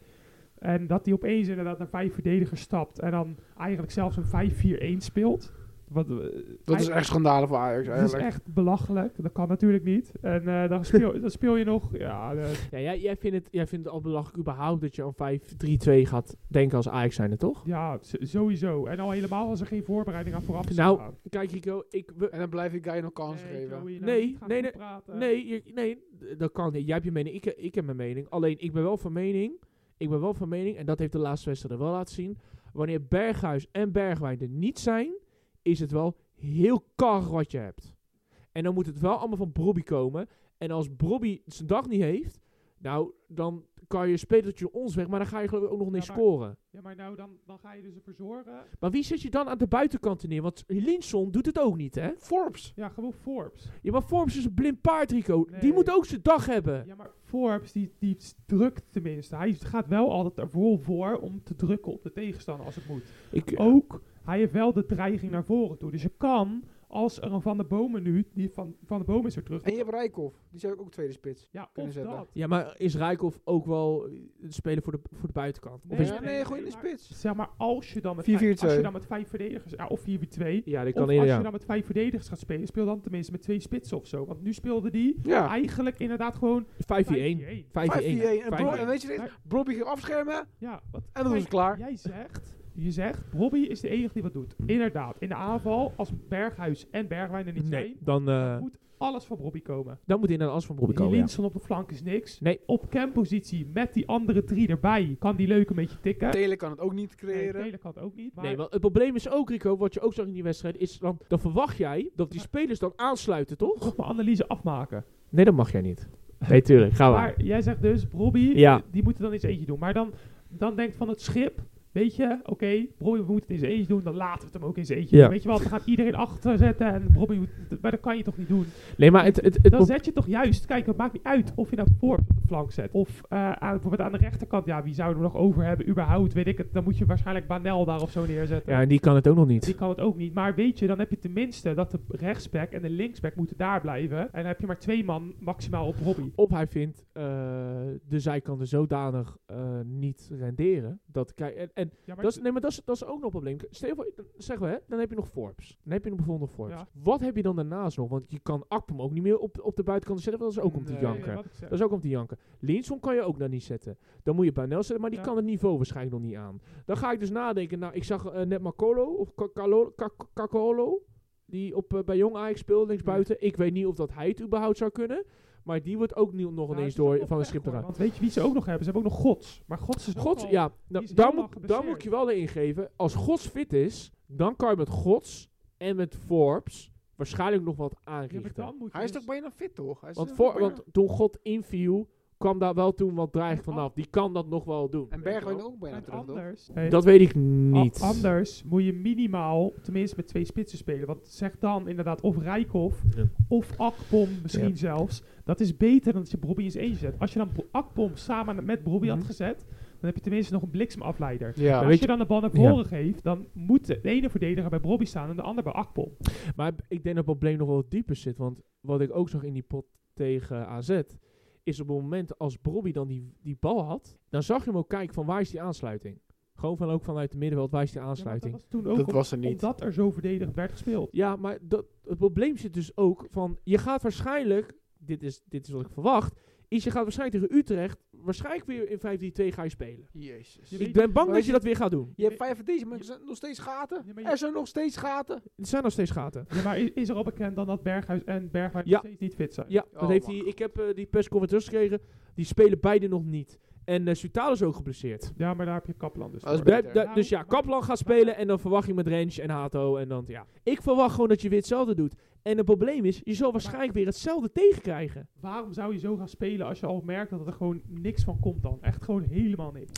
En dat hij opeens inderdaad naar vijf verdedigers stapt. En dan eigenlijk zelfs een 5-4-1 speelt. Wat, eh,
Dat is echt schandalen voor Ajax
dat is
eigenlijk.
echt belachelijk. Dat kan natuurlijk niet. En eh, dan, speel, dan speel je nog... Ja, eh,
Ja, jij, jij, vindt het, jij vindt het al belachelijk überhaupt dat je aan 5-3-2 gaat denken als Ajax zijnde, toch?
ja, s- sowieso. En al helemaal als er geen voorbereiding aan vooraf is
Nou,
gegaan.
Kijk Rico, ik, we,
En dan blijf ik Guy nog kansen
Nee,
geven.
Joey,
Nee,
niet gaan
nee,
over praten.
Nee, je- nee, d- dat kan niet. Jij hebt je mening, ik, ik heb mijn mening. Alleen, ik ben wel van mening, ik ben wel van mening, en dat heeft de laatste wedstrijd er wel laten zien. Wanneer Berghuis en Bergwijn er niet zijn, is het wel heel kar wat je hebt. En dan moet het wel allemaal van Brobby komen. En als Brobby zijn dag niet heeft, nou, dan kan je spelertje ons weg, maar dan ga je geloof ik ook nog niet
maar-
scoren.
Ja, maar nou, dan, dan ga je dus ervoor zorgen.
Maar wie zet je dan aan de buitenkant neer? Want Linson doet het ook niet, hè?
Forbes.
Ja, gewoon Forbes.
Ja, maar Forbes is een blind paard, Rico. Die
Nee.
moet ook zijn dag hebben.
Ja, maar Forbes, die, die drukt tenminste. Hij gaat wel altijd er vol voor om te drukken op de tegenstander als het moet.
Ik,
Ook, hij heeft wel de dreiging naar voren toe. Dus je kan, als er een Van de Bomen nu, die Van, van de Bomen is er terug.
En je hebt Rijkoff. Die zou ik ook tweede spits.
ja, of
kunnen zetten.
dat.
Ja, maar is Rijkoff ook wel eh, een speler voor de, voor de buitenkant? Of
Nee,
is,
ja, nee, gooi in de
maar-
spits.
Zeg maar, als je dan met,
4-4-2.
vijf, als je dan met vijf verdedigers, ja, of 4-4-2.
ja, dat
Of
kan
als
ja.
je dan met vijf verdedigers gaat spelen, speel dan tenminste met twee spitsen of zo. Want nu speelde die
Ja. 5-4-1.
eigenlijk inderdaad gewoon
5-1.
5-1.
5-1.
En, Bro-
5-1.
en weet je dit? Bobby ging afschermen.
Ja, wat
En dan was
Kijk,
het klaar.
Jij zegt, je zegt, Bobby is de enige die wat doet.
Hm.
Inderdaad, in de aanval, als Berghuis en Bergwijn er niet
Nee,
zijn,
dan, eh
moet alles van Bobby komen.
dan moet hij naar de as van Bobby
die
komen. ja.
Linson op de flank is niks.
Nee.
Op campositie met die andere drie erbij kan die leuk een beetje tikken.
Telen kan het ook niet
Nee,
creëren.
Taylor kan het ook niet. Maar
Nee, want het probleem is ook, Rico, wat je ook zag in die wedstrijd, is dan, dan verwacht jij dat die spelers dan aansluiten, toch?
toch mijn analyse afmaken.
Nee, dat mag jij niet. Nee, tuurlijk. Ga Ah, maar.
Maar jij zegt dus, Bobby,
Ja.
die moeten dan eens eentje doen. Maar dan, dan denkt van het schip, weet je, oké, Bobby moet het eens eentje doen, dan laten we het hem ook eens eentje
Ja.
doen. Weet je wat, we gaan iedereen achter zetten en Bobby moet, maar dat kan je toch niet doen.
Nee, maar het... het, het
Dan zet je toch juist, kijk, het maakt niet uit of je nou voor of flank zet. Of eh, aan, bijvoorbeeld aan de rechterkant, ja, wie zouden we nog over hebben überhaupt, weet ik het. Dan moet je waarschijnlijk Banel daar of zo neerzetten.
Ja, en die kan het ook nog niet.
Die kan het ook niet. Maar weet je, dan heb je tenminste dat de rechtsback en de linksback moeten daar blijven. En dan heb je maar twee man maximaal op Robbie.
Of hij vindt eh, de zijkanten zodanig eh, niet renderen. Dat, kijk, en, en
Ja, maar
dat is, nee, maar dat is, dat is ook nog een probleem. Stel je voor, dan zeggen we, hè, dan heb je nog Forbes. Dan heb je nog bijvoorbeeld nog Forbes. Wat heb je dan daarnaast nog? Want je kan Akpom ook niet meer op, op de buitenkant zetten, want dat is ook om te
Nee,
janken.
wat ik zeg.
Dat is ook om te janken. Linson kan je ook daar niet zetten. Dan moet je Banel zetten, maar die
Ja.
kan het niveau waarschijnlijk nog niet aan. Dan ga ik dus nadenken. Nou, ik zag eh, net Marcolo of Ka- Kalo- Ka- Ka- Kakolo. Die op, eh, bij Jong Ajax speelde, linksbuiten. Ik weet niet of dat hij het überhaupt zou kunnen. Maar die wordt ook niet, nog
Ja,
ineens
het is ook
door
wel
van een
pech,
schip
hoor,
eraan.
Want weet je wie ze ook nog hebben? Ze hebben ook nog Gods. Maar Gods is
Gods,
nogal-
ja,
die
nou,
is
daar,
helemaal
moet, daar
geblesseerd.
moet ik je wel in geven. Als Gods fit is, dan kan je met Gods en met Forbes waarschijnlijk nog wat
Ja, maar
aanrichten.
dan moet je
Hij is
dus-
toch bijna fit, toch? Hij is
want,
toch
voor,
bijna-
want toen God inviel, kwam daar wel toen wat dreig vanaf. Die kan dat nog wel doen.
En
weet je wel.
Bergwijn ook bijna
Want
terug, toch?
anders, Hey,
Dat weet ik
a-
niet.
anders moet je minimaal, tenminste met twee spitsen spelen. Want zeg dan inderdaad of Rijkoff
Ja.
of Akpom misschien
Ja.
zelfs. Dat is beter dan dat je Bobby eens eentje zet. Als je dan Bo- Akpom samen met Bobby had
Mhm.
gezet, dan heb je tenminste nog een bliksemafleider.
Ja.
Maar
Als
weet
je
je-
dan de bal naar voren geeft, dan moet de ene verdediger bij Bobby staan en de ander bij Akpom.
Maar ik denk dat het probleem nog wel dieper zit. Want wat ik ook zag in die pot tegen AZ, is op het moment als Bobby dan die, die bal had, dan zag je hem ook kijken van waar is die aansluiting. Gewoon van ook vanuit het middenveld, waar is die
Ja, maar dat
aansluiting?
was toen ook
Dat
om-
was er niet.
omdat er zo verdedigend werd gespeeld.
Ja, maar dat, het probleem zit dus ook van, je gaat waarschijnlijk, dit is, dit is wat ik verwacht, is je gaat waarschijnlijk tegen Utrecht, waarschijnlijk weer in 5-3-2 ga je spelen.
Jezus.
Je
Je
weet-
Ik ben bang
maar
dat je dat weer gaat doen.
hebt vijf van deze, maar er zijn nog steeds gaten.
Ja, maar je-
Er zijn nog steeds gaten.
Er zijn nog steeds gaten.
Ja, maar i- is er al bekend dan dat Berghuis en Berghuis
Ja.
nog steeds niet fit zijn?
Ja,
Oh,
dat heeft
man.
hij, ik heb eh, die persconferentie gekregen. Die spelen beide nog niet. En eh Sutalo is ook geblesseerd.
Ja, maar daar heb je Kaplan dus.
Dat is
voor.
be-
Daar-
Beter.
daar- dus ja,
Nou,
Kaplan gaat spelen en dan verwacht je met Rens en Hato. En dan, ja. Ik verwacht gewoon dat je weer hetzelfde doet. En het probleem is, je zal waarschijnlijk weer hetzelfde tegenkrijgen.
Waarom zou je zo gaan spelen als je al merkt dat er gewoon niks van komt dan? Echt gewoon helemaal niks.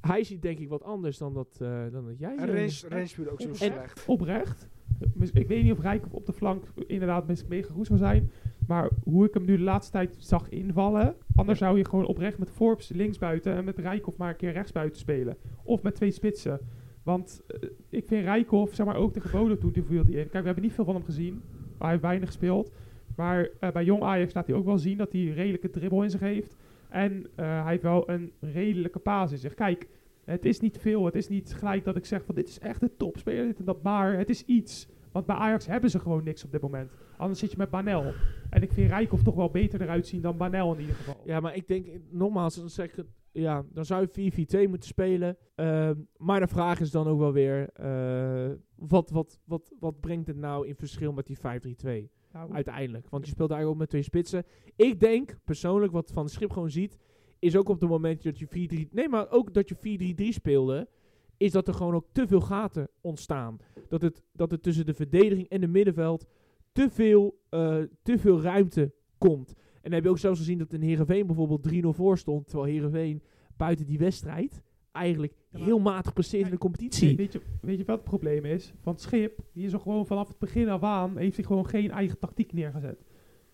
Hij ziet denk ik wat anders dan dat, eh, dan dat jij... eh,
Rens speelde ook zo
en-
slecht.
Oprecht. Mis- Ik weet niet of Rijk op de flank inderdaad mis- mega goed zou zijn. Maar hoe ik hem nu de laatste tijd zag invallen. Anders zou je gewoon oprecht met Forbes linksbuiten en met Rijkoff maar een keer rechtsbuiten spelen. Of met twee spitsen. Want eh, ik vind Rijkoff, zeg maar ook tegen Bodo toen die viel die in. Kijk, we hebben niet veel van hem gezien. Hij heeft weinig gespeeld. Maar eh, bij Jong Ajax laat hij ook wel zien dat hij een redelijke dribbel in zich heeft. En eh, hij heeft wel een redelijke paas in zich. Kijk, het is niet veel. Het is niet gelijk dat ik zeg van dit is echt de topspeler. Dit en dat. Maar het is iets. Want bij Ajax hebben ze gewoon niks op dit moment. Anders zit je met Banel. En ik vind Rijkoff toch wel beter eruit zien dan Banel in ieder geval.
Ja, maar ik denk, eh, nogmaals, dan zeg ik het, ja, dan zou je 4-4-2 moeten spelen. Ehm, maar de vraag is dan ook wel weer, eh, wat, wat, wat, wat brengt het nou in verschil met die 5-3-2?
Nou,
uiteindelijk. Want je speelt eigenlijk ook met twee spitsen. Ik denk persoonlijk, wat Van de Schip gewoon ziet, is ook op het moment dat je 4-3... Nee, maar ook dat je 4-3-3 speelde, is dat er gewoon ook te veel gaten ontstaan. Dat het, dat het tussen de verdediging en de middenveld te veel, eh, te veel ruimte komt. En dan heb je ook zelfs gezien dat in Heerenveen bijvoorbeeld 3-0 voor stond, terwijl Heerenveen buiten die wedstrijd eigenlijk
Ja, maar-
heel matig presteert in de
weet,
competitie.
weet je, weet je wat het probleem is? Van Schip, die is er gewoon vanaf het begin af aan, heeft hij gewoon geen eigen tactiek neergezet.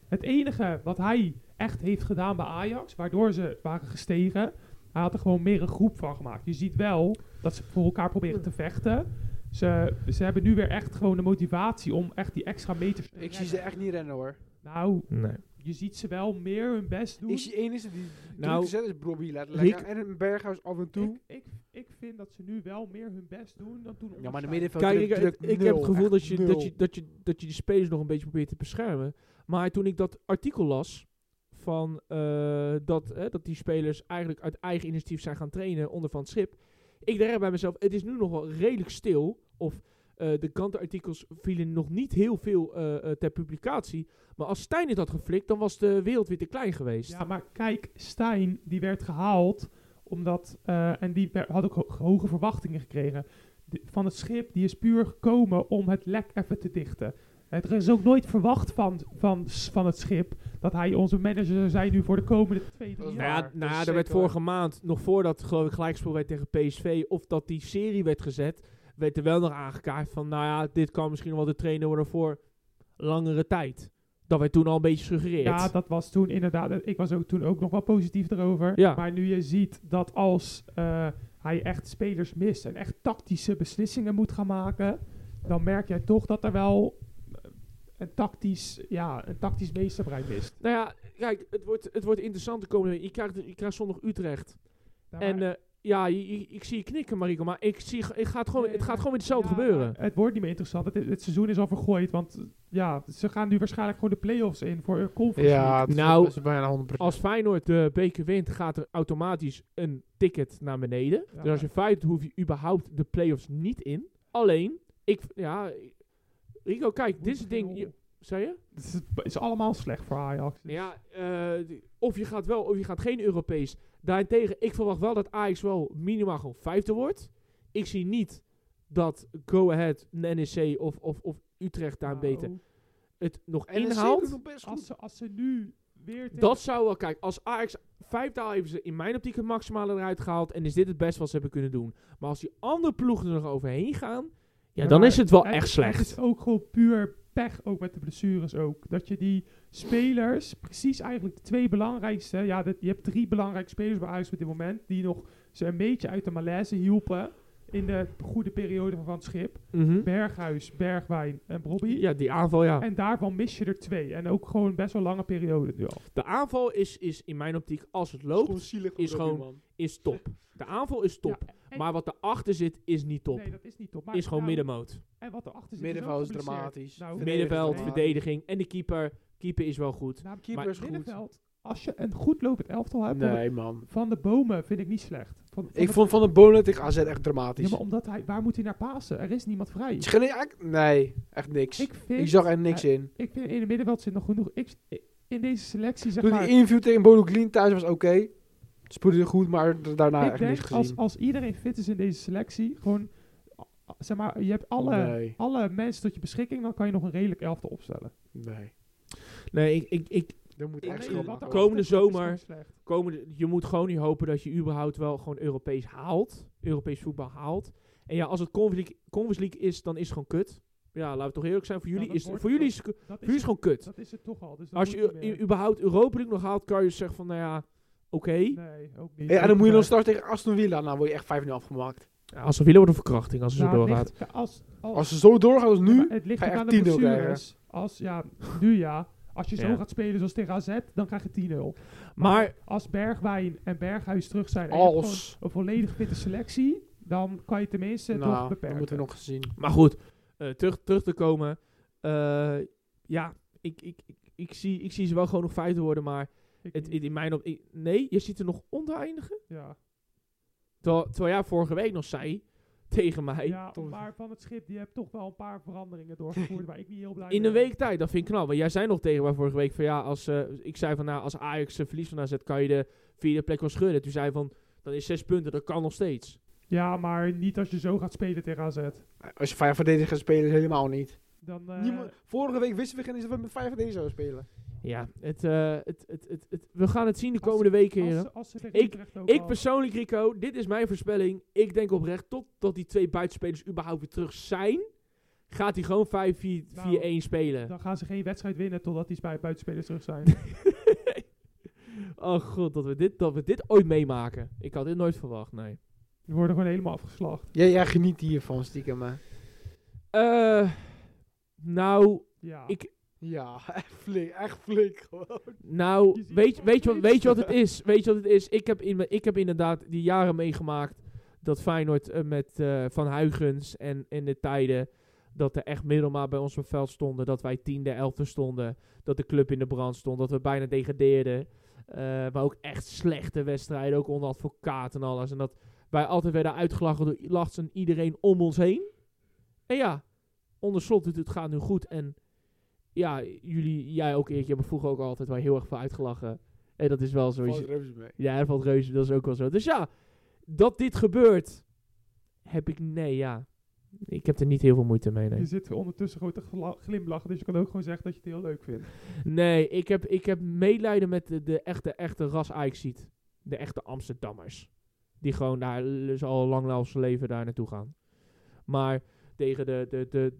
Het enige wat hij echt heeft gedaan bij Ajax, waardoor ze waren gestegen, hij had er gewoon meer een groep van gemaakt. Je ziet wel dat ze voor elkaar proberen te vechten. Ze, ze hebben nu weer echt gewoon de motivatie om echt die extra meters te
Ik zie
rennen.
ze echt niet rennen hoor.
Nou,
Nee.
je ziet ze wel meer hun best doen.
Ik zie één is die druk
Nou,
gezet is Bobby letterlijk.
Rick-
en een Berghuis af en toe.
ik, ik, ik vind dat ze nu wel meer hun best doen dan toen.
Ja, maar de
onder
middenveld
Kijk,
druk,
ik,
druk
ik heb
nul,
het gevoel
echt
dat je, dat, je,
nul.
dat, je, dat je die spelers nog een beetje probeert te beschermen. Maar toen ik dat artikel las van eh, dat, eh, dat die spelers eigenlijk uit eigen initiatief zijn gaan trainen onder Van het Schip. Ik dacht bij mezelf, het is nu nog wel redelijk stil. Of eh, de krantenartikels vielen nog niet heel veel eh, eh, ter publicatie. Maar als Stijn het had geflikt, dan was de wereld weer te klein geweest.
Ja, maar kijk, Stijn die werd gehaald omdat eh, en die wer- had ook ho- hoge verwachtingen gekregen De- van het schip. Die is puur gekomen om het lek even te dichten. Het er is ook nooit verwacht van, van, s- van het schip dat hij onze manager zou zijn nu voor de komende twee drie
Dat is
Nou
jaar.
ja,
waar.
nou
Dat
ja,
is
er werd
zeker waar.
vorige maand, nog voordat geloof ik gelijkspel werd tegen PSV, of dat die serie werd gezet, werd er wel nog aangekaart van, nou ja, dit kan misschien nog wel de trainer worden voor langere tijd. Dat wij toen al een beetje suggereerd.
Ja, dat was toen inderdaad. eh, Ik was ook toen ook nog wel positief erover.
Ja.
Maar nu je ziet dat als eh, hij echt spelers mist en echt tactische beslissingen moet gaan maken, dan merk jij toch dat er wel eh, een tactisch, ja, een tactisch meesterbrein mist.
Nou ja, kijk, het wordt, het wordt interessant de komende week. Je krijgt, je krijgt zondag Utrecht.
Ja, maar
en eh, ja, je- je- ik zie je knikken, Mariko. Maar ik zie, ik ga het, gewoon, het gaat gewoon weer hetzelfde
ja,
gebeuren.
maar Het wordt niet meer interessant. Het, het seizoen is al vergooid, want eh, ja, ze gaan nu waarschijnlijk gewoon de play-offs in voor een conference.
Ja,
League.
het is
Nou,
best bijna 100%.
Als Feyenoord de beker wint, gaat er automatisch een ticket naar beneden.
Ja.
Dus als je feit hoef je überhaupt de play-offs niet in. Alleen, ik, ja... Rico, kijk, dit is het ding... Je, zei je?
Het is, het is allemaal slecht voor Ajax.
Nou Ja, eh, d- of je gaat wel of je gaat geen Europees. Daarentegen, ik verwacht wel dat Ajax wel minimaal gewoon vijfde wordt. Ik zie niet dat Go Ahead, NEC of, of, of Utrecht daar
Nou,
beter het nog
En NEC doet
inhaalt.
nog best
Als
goed.
ze, als ze nu weer tegen-
Dat zou wel, kijk, als Ajax vijfde haalt, hebben ze in mijn optiek het maximale eruit gehaald. En is dit het best wat ze hebben kunnen doen. Maar als die andere ploegen er nog overheen gaan, ja,
Ja,
dan
maar
is het wel
En
echt
Het
slecht.
is ook gewoon puur pech, ook met de blessures ook. Dat je die spelers, precies eigenlijk de twee belangrijkste... Ja, dat, je hebt drie belangrijke spelers bij Ajax op dit moment... die nog ze een beetje uit de malaise hielpen... in de goede periode van het schip.
Mhm.
Berghuis, Bergwijn en Robbie.
Ja, die aanval, ja.
En daarvan mis je er twee. En ook gewoon best wel lange periode nu al.
De aanval is, is in mijn optiek, als het
Het is
loopt,
gewoon zielig hoe
is
dat nu,
gewoon-
man.
is top. De aanval is top.
Ja, en-
Maar wat erachter zit, is niet top.
Nee, dat is niet top. Maar
is gewoon
nou,
middenmoot.
En wat erachter zit is ook
Middenveld is
geblesseerd.
dramatisch.
Nou,
Middenveld,
nee.
verdediging en de keeper. Keeper is wel goed.
Nou,
Keeper
maar
is goed.
middenveld, als je een goed lopend elftal hebt... dan
Nee, man.
Van de bomen vind ik niet slecht. Van, van
Ik
de-
vond Van de Bonen tegen AZ echt
ja,
dramatisch.
maar omdat hij, waar moet hij naar pasen? Er is niemand vrij.
Het is geen- eigenlijk- Nee, echt niks.
Ik vind,
Ik zag er niks
eh,
in.
ik vind in het middenveld zit nog genoeg. Ik, in deze selectie zeg
Toen
maar.
die interview tegen Bodo Glien thuis was oké. Spoedde goed, maar d- daarna
ik
echt niks
denk als,
gezien.
als iedereen fit is in deze selectie, gewoon a- zeg maar, je hebt alle,
Nee,
alle mensen tot je beschikking, dan kan je nog een redelijk elftal opstellen.
nee.
Nee, ik, ik, ik,
Dat moet
Ik
echt
weet
schoon
niet wat
maken.
er- komende
Is gewoon
zomer-
slecht.
komende, je moet gewoon niet hopen dat je überhaupt wel gewoon Europees haalt. Europees voetbal haalt. En ja, als het Conference League, Conference League is, dan is het gewoon kut. Ja, laten we toch eerlijk zijn. Voor
Ja,
jullie,
dat
is,
wordt
voor
het
jullie, is, voor
Dat
jullie
is,
is gewoon kut.
dat is het toch al. Dus dat
Als
moet
je
niet
u-
meer.
überhaupt Europa League nog haalt, kan je zeggen van, nou ja, oké.
nee, ook niet.
Ja, en dan moet je dan
nog
straks tegen Aston Villa. Nou, word je echt 5-0 afgemaakt.
Als ze willen, wordt een verkrachting als ze
nou,
zo
het
doorgaat.
ligt- Als, als,
Als ze zo doorgaan als
Ja,
nu...
maar het ligt
ga je
ook aan
echt
de
10-0
blessures. Als, ja, nu ja. Als je zo
Ja.
gaat spelen zoals tegen AZ, dan krijg je 10-0.
Maar
Als Bergwijn en Berghuis terug zijn en je hebt gewoon
Als...
een volledig fitte selectie, dan kan je tenminste toch
Nou, dat
beperken.
moeten we nog eens zien.
Maar goed, eh, terug, terug te komen. Eh, ja, ik, ik, ik, ik, zie, ik zie ze wel gewoon nog vijfde worden, maar
Ik
het,
niet.
het in mijn op, ik- nee, je ziet er nog onder eindigen.
ja.
Terwijl, terwijl jij vorige week nog zei tegen mij,
ja, maar van het schip, die hebt toch wel een paar veranderingen doorgevoerd waar ik niet heel blij
in
mee
een
ben.
week tijd, dat vind ik knap. Want jij zei nog tegen mij vorige week van ja, als, eh, ik zei van nou, als Ajax eh, verlies van AZ kan je de vierde plek wel schudden. Toen zei hij van, dan is zes punten, dat kan nog steeds.
Ja, maar niet als je zo gaat spelen tegen AZ.
Als je vijf verdedigers gaat spelen, is helemaal niet.
Dan, eh,
Niemand- Vorige week wisten we geen eens dat we met vijf verdedigers zouden spelen.
Ja, het, eh, het, het, het, het- we gaan het zien de komende weken,
als,
heren.
ze- als ze tegen
Ik-
Utrecht ook
Ik
al-
persoonlijk, Rico, dit is mijn voorspelling. Ik denk oprecht, totdat die twee buitenspelers überhaupt weer terug zijn, gaat hij gewoon 5-4-1 spelen.
Nou, Dan gaan ze geen wedstrijd winnen totdat die bij buitenspelers terug zijn.
oh god, dat we, dit, dat we dit ooit meemaken. Ik had dit nooit verwacht, nee.
Die worden gewoon helemaal afgeslacht.
Jij, jij geniet hiervan, stiekem. Hè.
Eh, nou,
Ja.
Ik-
Ja, echt flink. Echt flink gewoon.
nou
Je ziet
weet,
het
weet, je, wat-
steeds.
weet je wat het is? Weet je wat het is? Ik heb, in, mijn- ik heb inderdaad die jaren meegemaakt dat Feyenoord eh, met eh, Van Huygens en in de tijden dat er echt middelmaat bij ons op het veld stonden, dat wij tiende, elfde stonden, dat de club in de brand stond, dat we bijna degradeerden. Eh, maar ook echt slechte wedstrijden, ook onder advocaat en alles. En dat wij altijd werden uitgelachen door lachs en iedereen om ons heen. En ja, onder slot doet het gaat nu goed. En ja, jullie, jij ook Erik, je hebt me vroeger ook altijd wel heel erg veel uitgelachen. En dat is wel zo.
Valt reuze mee.
Ja, er valt reuze, dat is ook wel zo. Dus ja, dat dit gebeurt, heb ik, nee ja. Ik heb er niet heel veel moeite mee, nee.
Je zit ondertussen gewoon te gla- glimlachen, dus je kan ook gewoon zeggen dat je het heel leuk vindt.
Nee, ik heb, ik heb medelijden met de, de echte, echte ras Ajax ziet. De echte Amsterdammers. Die gewoon daar dus al lang na ons leven daar naartoe gaan. Maar tegen de, de, de,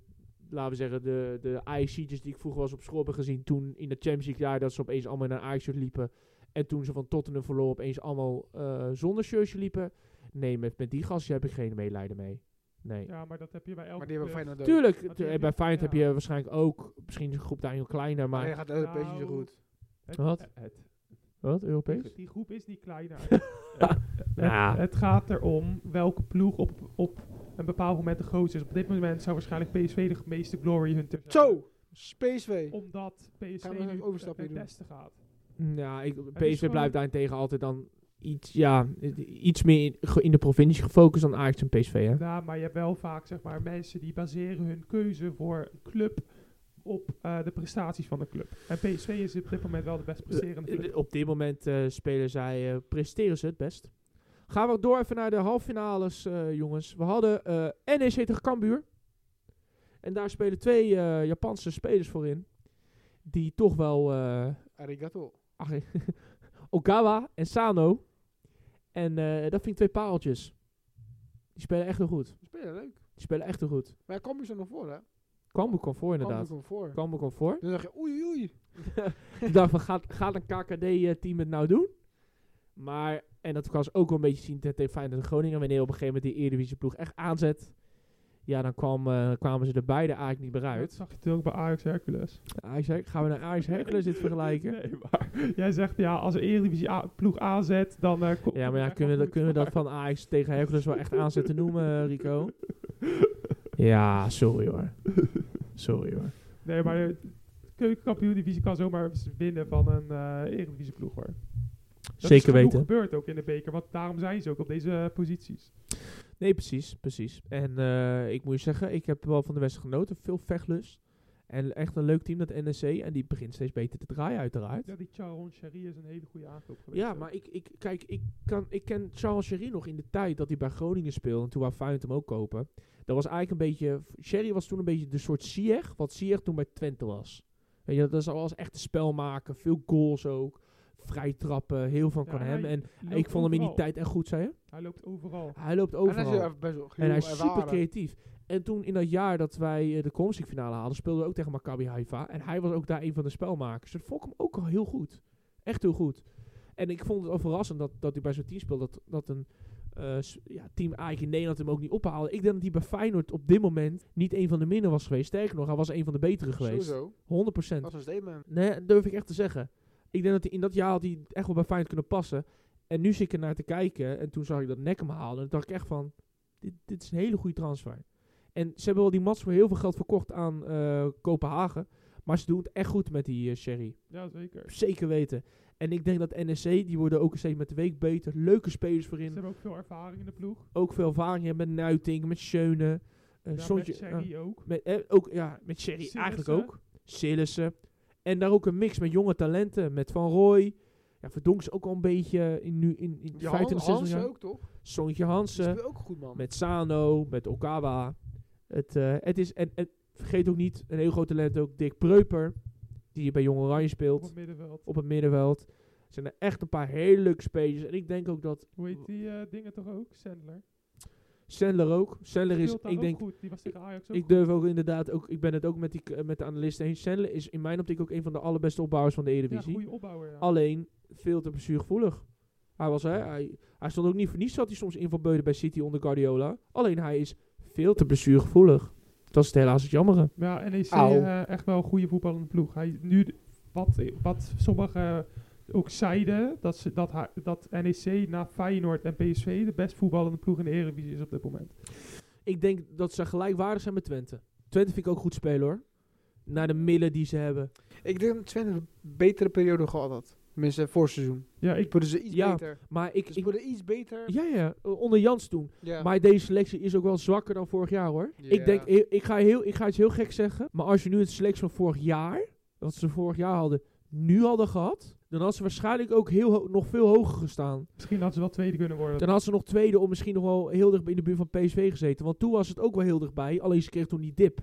laten we zeggen, de, de Ajaxietjes die ik vroeger was op school heb gezien. Toen in de Champions League jaar dat ze opeens allemaal naar Ajax liepen. En toen ze van Tottenham verloren opeens allemaal eh, zonder shirtje liepen. Nee, met, met die gasten heb ik geen medelijden mee. Nee.
Ja, maar dat heb je bij elke
Maar die hebben
club.
Feyenoord ook.
Tuurlijk,
die
t-
heb
eh,
je-
bij Feyenoord heb
ja.
je waarschijnlijk ook, misschien is de groep daar heel kleiner, maar...
Maar je gaat het Europees niet zo
Nou,
goed.
Het-
Wat?
eh, het-
Wat, Europees?
Die groep is niet kleiner. Het-
Ja.
Het gaat erom welke ploeg op, op een bepaald moment de grootste is. Op dit moment zou waarschijnlijk PSV de meeste glory hunter zijn.
Zo! Space Way.
Omdat PSV
Gaan we nog
nu
even overstapje
ten
doen?
beste gaat.
Nou, ik,
is
PSV
gewoon-
blijft daarentegen altijd dan iets, ja, i- iets meer in, ge- in de provincie gefocust dan Ajax en PSV, hè?
Ja, maar je hebt wel vaak zeg maar, mensen die baseren hun keuze voor een club op eh, de prestaties van de club. En PSV is op dit moment wel de best presterende club.
Op dit moment eh, spelen zij, eh, presteren ze het best. Gaan we door even naar de halffinales, eh, jongens. We hadden eh NEC tegen Cambuur. En daar spelen twee eh, Japanse spelers voor in. Die toch wel... eh,
Arigato.
Ach, Okawa en Sano. En eh, dat vind ik twee pareltjes. Die spelen echt heel goed.
We spelen leuk.
Die spelen echt heel goed.
Maar kom je zo nog voor, hè?
Kwambu kwam voor
Kwam
inderdaad.
je nog voor.
Kwambu kwam voor.
Dan zeg je oei oei.
Ik dacht van, gaat, gaat een KKD-team het nou doen? Maar, en dat kan ze ook wel een beetje zien tegen Feyenoord en Groningen. Wanneer op een gegeven moment die Eredivisie ploeg echt aanzet. Ja, dan kwam, eh, kwamen ze er beide eigenlijk niet meer
Dat
uit.
zag je toen ook bij Ajax Hercules.
Ajax, Her- gaan we naar Ajax Hercules dit vergelijken?
Nee, maar jij zegt ja, als een Eredivisie A- ploeg aanzet, dan eh, komt
Ja,
het
maar ja,
echt
kunnen, we,
wel
dat- kunnen we
goed.
dat van Ajax tegen Hercules wel echt aanzetten noemen, eh, Rico? Ja, sorry hoor. Sorry hoor.
Nee, maar eh, de keukenkampioen divisie kan zomaar winnen van een eh Eredivisie ploeg hoor. Dat is
Zeker
genoeg
weten.
gebeurd ook in de beker, want daarom zijn ze ook op deze eh, posities.
Nee, precies, precies. En eh, ik moet je zeggen, ik heb wel van de wedstrijd genoten. Veel vechtlust. En echt een leuk team, dat NEC. En die begint steeds beter te draaien, uiteraard.
Ja, die Charon Sherry is een hele goede aankoop geweest.
Ja, maar ik, ik, kijk, ik, kan, ik ken Charles Sherry nog in de tijd dat hij bij Groningen speelde. En toen wou Feyenoord hem ook kopen. Dat was eigenlijk een beetje... Sherry was toen een beetje de soort Sieg, wat Sieg toen bij Twente was. Weet je, dat is al als echte spel maken. Veel goals ook. Vrij trappen, heel van
Ja,
kan
hij
hem. En
Loopt
ik vond hem in die
overal.
tijd echt goed, zei je?
Hij loopt overal.
Hij loopt
En hij
overal.
is eh, best wel heel
En hij is super
ervaren.
creatief. En toen in dat jaar dat wij eh, de Conference League finale haalden, speelden we ook tegen Maccabi Haifa. En hij was ook daar een van de spelmakers. Dus dat vond ik hem ook al heel goed. Echt heel goed. En ik vond het al verrassend dat, dat hij bij zo'n team speelt. Dat, dat een eh, s- ja, team eigenlijk in Nederland hem ook niet ophaalde. Ik denk dat hij bij Feyenoord op dit moment niet een van de minder was geweest. Sterker nog, hij was een van de betere geweest.
Sowieso.
100%.
Dat is een statement.
Nee, dat durf ik echt te zeggen. Ik denk dat hij in dat jaar had hij echt wel bij Feyenoord kunnen passen. En nu zit ik ernaar te kijken. En toen zag ik dat Nek hem haalde. En toen dacht ik echt van, dit, dit is een hele goede transfer. En ze hebben wel die Mats voor heel veel geld verkocht aan eh, Kopenhagen. Maar ze doen het echt goed met die eh, Sherry.
Ja, zeker.
Zeker weten. En ik denk dat NEC, die worden ook steeds met de week beter. Leuke spelers
Ze
voorin.
hebben ook veel ervaring in de ploeg.
Ook veel ervaring hebben met Nuiting, met Schöne. eh
Ja,
Sontje-
met Sherry ook.
met, eh, ook, ja, met Sherry
Sillissen.
eigenlijk ook. Sillissen. En daar ook een mix met jonge talenten. Met Van Rooij. Ja, Verdonk is ook al een beetje in, nu, in, in
Ja,
25, 60
Hansen
jaar.
ook toch?
Sontje
Ze
Hansen.
speelt ook goed man.
Met Sano. Met Okawa. Het, eh, het is, en, en vergeet ook niet, een heel groot talent ook, Dick Preuper. Die hier bij Jong Oranje
Op
speelt.
het middenveld.
Op het middenveld. Er zijn er echt een paar hele leuke spelers. En ik denk ook dat
Hoe heet die eh, dingen toch ook? Sandler.
Sandler ook. Sandler is,
Speelt daar
ik
ook
denk,
goed. Die was tegen Ajax ook
Ik durf ook inderdaad ook, ik ben het ook met, die, k- met de analisten eens. Sandler is in mijn optiek ook een van de allerbeste opbouwers van de
goed. Ja,
Eredivisie.
goede opbouwer, ja.
Alleen veel te blessuregevoelig. Hij was, hè, hij, hij stond ook niet voor niets, zat hij soms in van Beuden bij City onder Guardiola. Alleen hij is veel te blessuregevoelig. Dat is het helaas het jammere.
Maar ja, NEC
Au.
eh, echt wel een goede voetballende ploeg. Hij, nu, d- wat, wat sommigen ook zeiden, dat, ze, dat, hij- dat NEC na Feyenoord en PSV de best voetballende ploeg in de Eredivisie is op dit moment.
Ik denk dat ze gelijkwaardig zijn met Twente. Twente vind ik ook goed spelen hoor. Naar de middelen die ze hebben.
Ik denk dat Twente een betere periode gehad had. Tenminste, voorseizoen.
Ja, ik,
Worden ze iets
Ja,
beter.
Maar ik...
Ze
ik
worden iets beter.
ja, ja, onder Jans toen.
Ja.
Maar deze selectie is ook wel zwakker dan vorig jaar hoor.
Ja.
Ik denk, ik, ik ga heel, ik ga iets heel gek zeggen. Maar als je nu het selectie van vorig jaar, wat ze vorig jaar hadden, nu hadden gehad. Dan had ze waarschijnlijk ook heel, ho- nog veel hoger gestaan.
misschien hadden ze wel tweede kunnen worden.
Dan had ze nog tweede of misschien nog wel heel dicht in de buurt van PSV gezeten. Want toen was het ook wel heel dichtbij. Alleen ze kreeg toen die dip.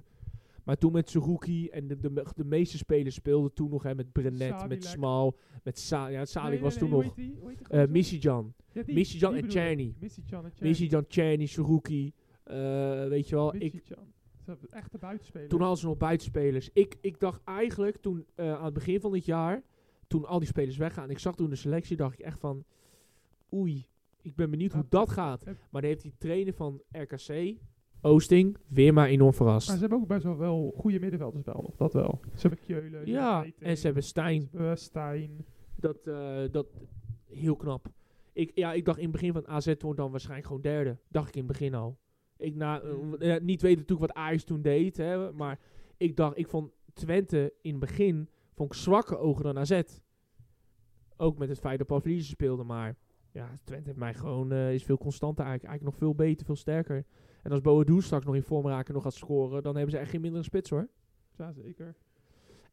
Maar toen met Suzuki en de, de, me- de meeste spelers speelden toen nog. Hè, met Brenet,
Sadilek.
met Smal, met Sa ja, Sadilek
Nee, nee,
was
nee,
toen
hoe
nog.
heet die? Hoe heet die
eh
gozer?
Misijan.
Ja, die-
Missy Jan
die
en
bedoel ik.
Czerny.
Missy Jan en Czerny.
Misijan, Czerny, Suzuki. eh, weet je wel. Ik,
Missy Jan. Zo echte, echte buitenspeler.
Toen hadden ze nog buitenspelers. Ik, ik dacht eigenlijk toen eh, aan het begin van dit jaar, toen al die spelers weggaan, ik zag toen de selectie, dacht ik echt van, oei, ik ben benieuwd hoe
Ja.
dat gaat.
Ja.
Maar dan heeft die trainer van RKC, Oosting, weer maar enorm
Maar
verrast.
ze hebben ook best wel wel goede middenvelders wel nog, dat wel. Ze hebben Keulen.
Ja, en ze hebben Stijn.
hebben eh, Stijn.
Dat, eh, dat heel knap. Ik, ja, ik dacht in het begin van AZ wordt dan waarschijnlijk gewoon derde. Dacht ik in het begin al. Ik na, eh,
Mm.
eh, niet weten natuurlijk wat Ajax toen deed. Hè, maar ik dacht, ik vond Twente in het begin vond ik zwakke ogen dan AZ. Ook met het feit dat Pavlidis speelde. Maar ja, Twente heeft mij gewoon, eh, is veel constanter eigenlijk. Eigenlijk nog veel beter, veel sterker. En als Boadu straks nog in vorm raken en nog gaat scoren, dan hebben ze echt geen mindere spits hoor.
Ja, zeker.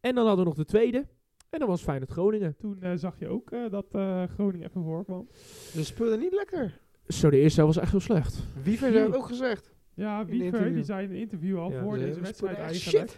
En dan hadden we nog de tweede. En dat was Feyenoord Groningen.
Toen eh, zag je ook eh, dat eh, Groningen even voorkwam.
Ze speelden niet lekker.
Zo, de eerste helft was echt heel slecht.
Wiever heeft ook gezegd.
Ja,
de
Wiever,
interview.
die zijn een interview al
Ja,
ze
voor deze
speelden
wedstrijd
echt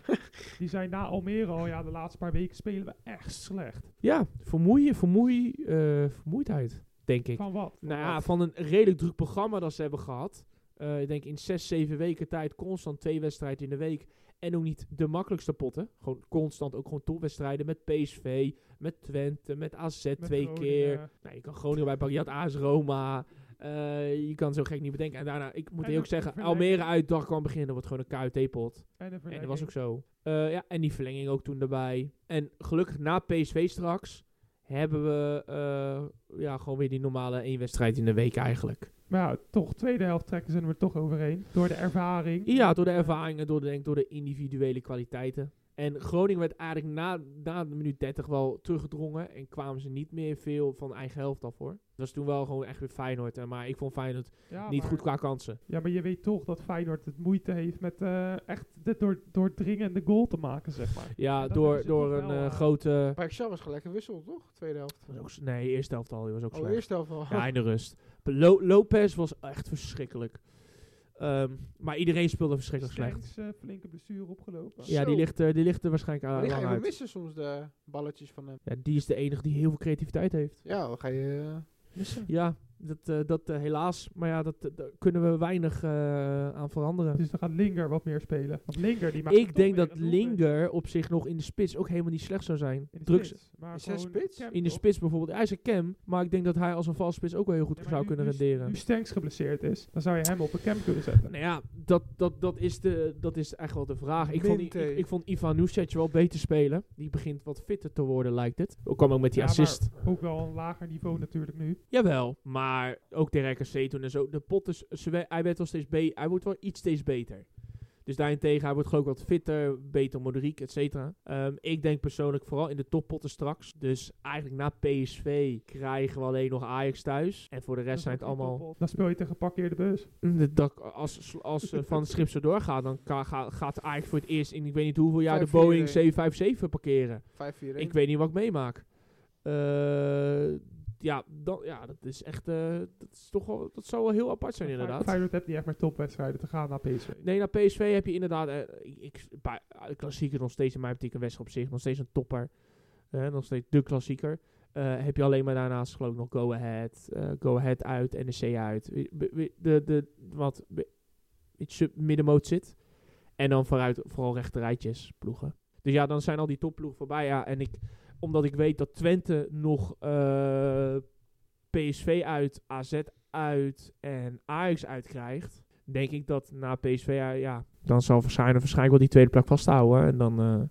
eigenlijk.
Shit.
Die zijn na Almere al, ja, de laatste paar weken spelen we echt slecht.
Ja, vermoeien, vermoei, eh, vermoeidheid, denk ik.
Van wat? Van
nou ja,
Ah,
wat?
van een redelijk druk programma dat ze hebben gehad. Eh, ik denk in zes, zeven weken tijd constant twee wedstrijden in de week. En ook niet de makkelijkste potten. Gewoon constant ook gewoon topwedstrijden met PSV, met Twente, met AZ
Met
twee keer.
Groningen.
Nou, je kan Groningen bijpakken, je had AS Roma. Eh, je kan zo gek niet bedenken. En daarna, ik moet
En
heel ook
ook de
zeggen,
verlenging.
Almere uit dag kwam beginnen. Dat wordt gewoon een KUT-pot.
En, een
En
verlenging.
dat was ook zo. Eh, ja, en die verlenging ook toen erbij. En gelukkig na PSV straks hebben we eh, ja, gewoon weer die normale één wedstrijd in de week eigenlijk.
Maar ja, toch, tweede helft trekken ze er toch overheen. Door de ervaring.
Ja, door de ervaringen, door de, denk, ik, door de individuele kwaliteiten. En Groningen werd eigenlijk na, na de minuut 30 wel teruggedrongen. En kwamen ze niet meer veel van eigen helft af hoor. Dat was toen wel gewoon echt weer Feyenoord. hè, Maar ik vond Feyenoord
Ja,
niet
Ah, maar-
goed qua kansen.
Ja, maar je weet toch dat Feyenoord het moeilijke heeft met eh, echt de door, door dringende goal te maken, zeg maar.
Ja,
Ja, dat
door,
hebben ze
door
toch
een
wel,
eh,
eh,
grote...
Maar Excel was gelijk een wissel, toch? Tweede helft.
was ook s- Nee, eerste helft al. Die was ook
Oh,
slecht.
eerste helft al.
Ja, in de rust. Lo- Lopez was echt verschrikkelijk. Ehm, maar iedereen speelde verschrikkelijk slecht.
Stenks, eh, flinke blessure opgelopen.
Ja, die
Zo.
ligt, er- die ligt er waarschijnlijk
Maar
aan.
die ga
eh, lang
je wel
uit.
missen soms de balletjes van hem.
Ja, die is de enige die heel veel creativiteit heeft.
Ja, dan ga je... eh, missen.
Ja, dat, eh, dat eh, helaas. Maar ja, dat, eh, daar kunnen we weinig eh, aan veranderen.
Dus dan gaat Linger wat meer spelen. Want Linger, die maakt
Ik
toch
denk
weer
dat
een doelpunt.
Linger op zich nog in de spits ook helemaal niet slecht zou zijn.
In de
Drugs
spits, maar
Is hij
gewoon
spits?
Kemp,
in de
toch?
spits bijvoorbeeld. Hij is een cam, maar ik denk dat hij als een valse spits ook wel heel goed
Ja, maar
zou
nu-
kunnen
nu-
renderen.
Nu Stenks geblesseerd is, dan zou je hem op een camp kunnen zetten.
Nou ja, dat, dat, dat, is, de, dat is echt wel de vraag. Ik vond, die-
Minte.
ik, ik vond Ivan Nusic wel beter spelen. Die begint wat fitter te worden, lijkt het. Ook kwam ook met die
Ja,
assist.
maar ook wel een lager niveau natuurlijk nu.
Jawel, maar ook de RKC toen en zo. De pot is, ze we- hij werd wel steeds be- hij wordt wel iets steeds beter. Dus daarentegen, hij wordt geloof ik wat fitter, beter moderiek, et cetera. Ehm, ik denk persoonlijk vooral in de toppotten straks. Dus eigenlijk na PSV krijgen we alleen nog Ajax thuis. En voor de
Dat
rest
is
zijn het
ook
allemaal...
top op. Dan speel je tegen geparkeerde bus.
De- Dat, als als eh, Van het Schip zo doorgaat, dan ka- ga- gaat eigenlijk voor het eerst in ik weet niet hoeveel jaar de
5-4-1.
Boeing 757 parkeren.
5-4-1.
Ik weet niet wat ik meemaak. Eh, ja, dan, ja, dat is echt. eh, dat, is toch wel, dat zou wel heel apart zijn, inderdaad.
Feyenoord heeft niet echt meer topwedstrijden te gaan naar PSV.
Nee, nou, naar PSV heb je inderdaad. eh, ik, ik, bij, de klassieker is nog steeds in mijn optiek een wedstrijd op zich. Nog steeds een topper. Eh, nog steeds de klassieker. Eh, heb je alleen maar daarnaast geloof ik nog Go Ahead. eh, go Ahead uit, NEC uit. Wie- wie- wie- De, de, wat wie- iets sub- middenmoot zit. En dan vooruit vooral rechterrijtjes ploegen. Dus ja, dan zijn al die topploegen voorbij. Ja, en ik, omdat ik weet dat Twente nog eh, PSV uit, AZ uit en Ajax uitkrijgt denk ik dat na PSV, ja, ja dan zal Verschijnen waarschijnlijk wel die tweede plek vasthouden. En dan, eh,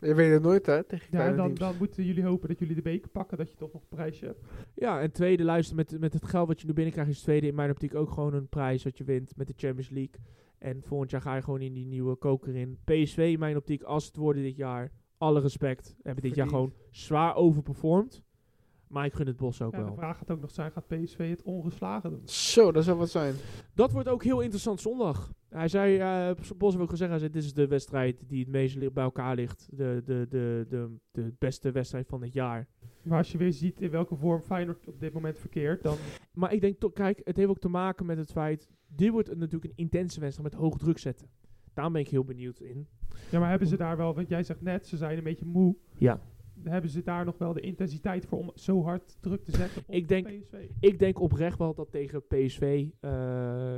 Je weet het nooit, hè? Tegen
Ja,
kleine
en dan,
teams.
dan moeten jullie hopen dat jullie de beker pakken, dat je toch nog een prijsje hebt.
ja, en tweede, luister, met, met het geld wat je nu binnenkrijgt, is tweede in mijn optiek ook gewoon een prijs wat je wint met de Champions League. En volgend jaar ga je gewoon in die nieuwe koker in. PSV in mijn optiek, als het worden dit jaar, alle respect, hebben dit jaar gewoon
Verdiend.
zwaar overperformed. Maar ik gun het Bos ook
En de
wel.
vraag gaat ook nog zijn, gaat PSV het ongeslagen doen?
Zo, dat zou wat zijn.
Dat wordt ook heel interessant zondag. Hij zei, eh Bos heeft ook gezegd, hij zei, dit is de wedstrijd die het meest li- bij elkaar ligt. De, de, de, de, de beste wedstrijd van het jaar.
Maar als je weer ziet in welke vorm Feyenoord op dit moment verkeert, dan
Maar ik denk toch, kijk, het heeft ook te maken met het feit. Dit wordt een- natuurlijk een intense wedstrijd met hoog druk zetten. Daar ben ik heel benieuwd in.
Ja, maar hebben ze daar wel, want jij zegt net, ze zijn een beetje moe.
Ja.
Hebben ze daar nog wel de intensiteit voor om zo hard druk te zetten op
Ik denk-
PSV?
Ik denk oprecht wel dat tegen PSV eh,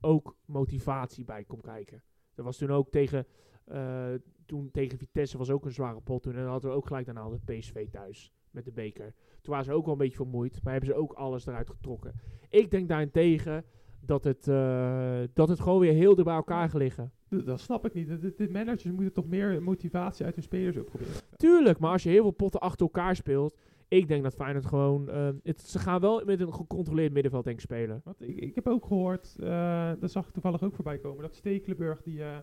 ook motivatie bij komt kijken. Dat was toen ook tegen, eh, toen tegen Vitesse was ook een zware pot toen. En dan hadden we ook gelijk daarna hadden we PSV thuis met de beker. Toen waren ze ook wel een beetje vermoeid, maar hebben ze ook alles eruit getrokken. Ik denk daarentegen dat het, eh, dat het gewoon weer heel dicht bij elkaar gaat liggen.
D- Dat snap ik niet. De, de managers moeten toch meer motivatie uit hun spelers ook proberen.
Tuurlijk, maar als je heel veel potten achter elkaar speelt... Ik denk dat Feyenoord gewoon... eh, het, ze gaan wel met een gecontroleerd middenveld denk ik spelen.
Want ik, ik heb ook gehoord, eh, dat zag ik toevallig ook voorbij komen, dat Stekelenburg die eh,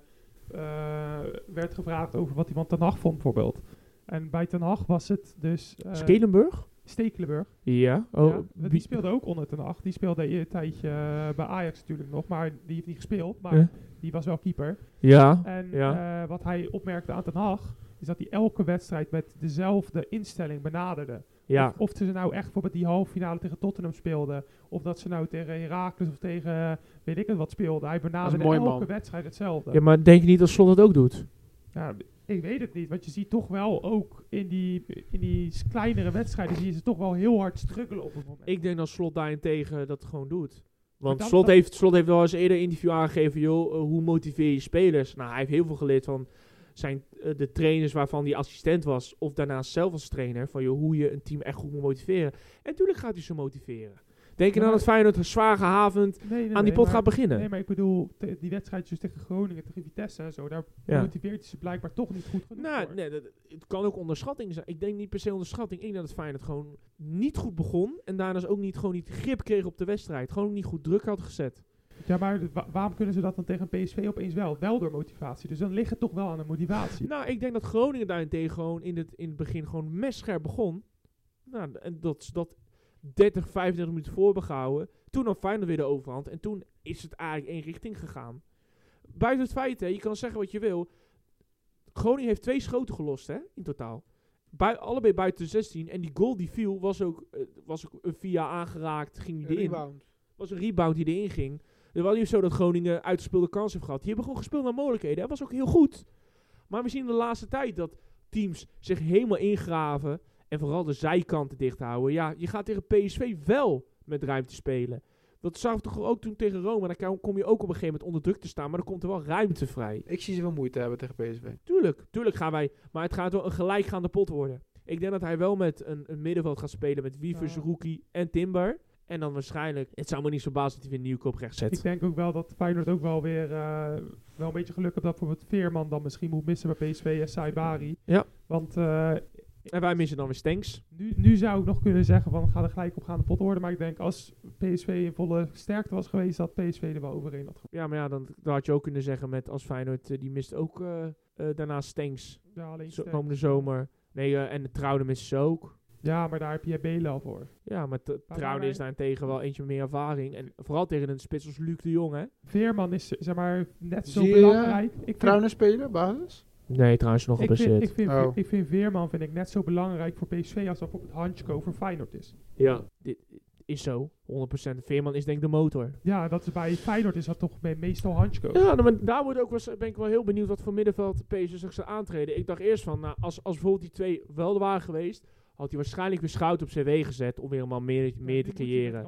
eh, werd gevraagd over wat hij van Ten Hag vond bijvoorbeeld. En bij Ten Hag was het dus eh,
Skelenburg?
Stekelenburg.
Ja.
ja.
Oh,
Want
wie-
die speelde ook onder Ten Hag. Die speelde een tijdje eh, bij Ajax natuurlijk nog, maar die heeft niet gespeeld. Maar
Ja.
die was wel keeper.
ja.
En
Ja.
eh, wat hij opmerkte aan Ten Hag, is dat hij elke wedstrijd met dezelfde instelling benaderde.
Ja.
Of, of ze nou echt bijvoorbeeld die halve finale tegen Tottenham speelden. Of dat ze nou tegen Heracles of tegen eh, weet ik het wat speelden. Hij benaderde
mooi,
elke
man.
wedstrijd hetzelfde.
ja, maar denk je niet dat Slot het ook doet?
Ja, ik weet het niet, want je ziet toch wel ook in die, in die s- kleinere wedstrijden... zie je ze toch wel heel hard struggelen op het moment.
Ik denk dat Slot daarentegen dat gewoon doet. Want
dan-
Slot,
dan-
heeft, Slot heeft wel eens eerder een interview aangegeven, joh, eh, hoe motiveer je spelers? Nou, hij heeft heel veel geleerd van zijn, eh, de trainers waarvan hij assistent was, of daarnaast zelf als trainer, van joh, hoe je een team echt goed moet motiveren. En natuurlijk gaat hij ze motiveren. Denk je
Ja,
nou
maar-
dat Feyenoord zwaar gehavend
Nee, nee,
aan die
nee,
pot
maar-
gaat beginnen?
Nee, maar ik bedoel, te- die wedstrijdjes tegen Groningen, tegen Vitesse en zo... daar
Ja.
motiveert hij ze blijkbaar toch niet goed genoeg
Nou,
voor.
nee, dat, het kan ook onderschatting zijn. Ik denk niet per se onderschatting. Ik denk dat het Feyenoord gewoon niet goed begon. En daarnaast ook niet, gewoon niet grip kreeg op de wedstrijd. Gewoon ook niet goed druk had gezet.
Ja, maar wa- waarom kunnen ze dat dan tegen een PSV opeens wel? Wel door motivatie. Dus dan ligt het toch wel aan de motivatie.
Nou, ik denk dat Groningen daarentegen gewoon in het, in het begin gewoon messcherp begon. Nou, en dat ze dat 30, 35 minuten voor hebben gehouden. Toen had Feyenoord weer de overhand. En toen is het eigenlijk één richting gegaan. Buiten het feit, hè, je kan zeggen wat je wil. Groningen heeft twee schoten gelost, hè, in totaal. Bui- allebei buiten de 16. En die goal die viel, was ook, eh, was ook een via aangeraakt, ging die in.
Rebound.
was een rebound die erin ging. Het was niet zo dat Groningen uitgespeelde kansen heeft gehad. Die hebben gewoon gespeeld naar mogelijkheden. Dat was ook heel goed. Maar we zien in de laatste tijd dat teams zich helemaal ingraven. En vooral de zijkanten dicht houden. Ja, je gaat tegen PSV wel met ruimte spelen. Dat zag toch ook toen tegen Rome. Dan kan- kom je ook op een gegeven moment onder druk te staan. Maar dan komt er wel ruimte vrij.
Ik zie ze wel moeite hebben tegen PSV.
Tuurlijk, tuurlijk gaan wij. Maar het gaat wel een gelijkgaande pot worden. Ik denk dat hij wel met een, een middenveld gaat spelen. Met Wievers,
Ja.
Rookie en Timber. En dan waarschijnlijk. Het zou me niet verbazen dat hij weer Nieuwkoop recht zet.
Ik denk ook wel dat Feyenoord ook wel weer eh, wel een beetje geluk heeft dat bijvoorbeeld Veerman dan misschien moet missen bij PSV en Saibari.
Ja.
Want eh,
En wij missen dan weer Stenks.
nu, nu zou ik nog kunnen zeggen van ga er gelijk op gaan de pot worden. Maar ik denk als PSV in volle sterkte was geweest, dat PSV er wel overheen had. ge-
Ja, maar ja, dan, dan had je ook kunnen zeggen met als Feyenoord, eh, die mist ook eh eh, daarna Stenks.
Ja,
Zo,
alleen sterk.
komende zomer. Nee, eh, en de Trouwde mist ze ook.
ja, maar daar heb je Belen al voor.
Ja, maar de
maar
Trouwde
wij-
is daarentegen wel eentje met meer ervaring. En vooral tegen een spits als Luc de Jong, hè?
Veerman is zeg maar net zo
Zie je,
belangrijk. Ik vind-
Trouwens spelen, basis?
Nee, trouwens nog
ik vind,
geblesseerd.
ik, vind,
Oh.
ik vind Veerman vind ik net zo belangrijk voor PSV als dat bijvoorbeeld Hansko voor Feyenoord is.
Ja. Dit is zo, 100%. Veerman is denk ik de motor.
Ja, dat is bij Feyenoord is dat toch me- meestal Hansko.
Ja, nou, maar daar wordt ook wel eens- ben ik wel heel benieuwd wat voor middenveld PSV zich zou aantreden. Ik dacht eerst van, nou, als, als bijvoorbeeld die twee wel er waren geweest, had hij waarschijnlijk weer Schout op zijn wegen gezet om weer helemaal meer, meer te creëren.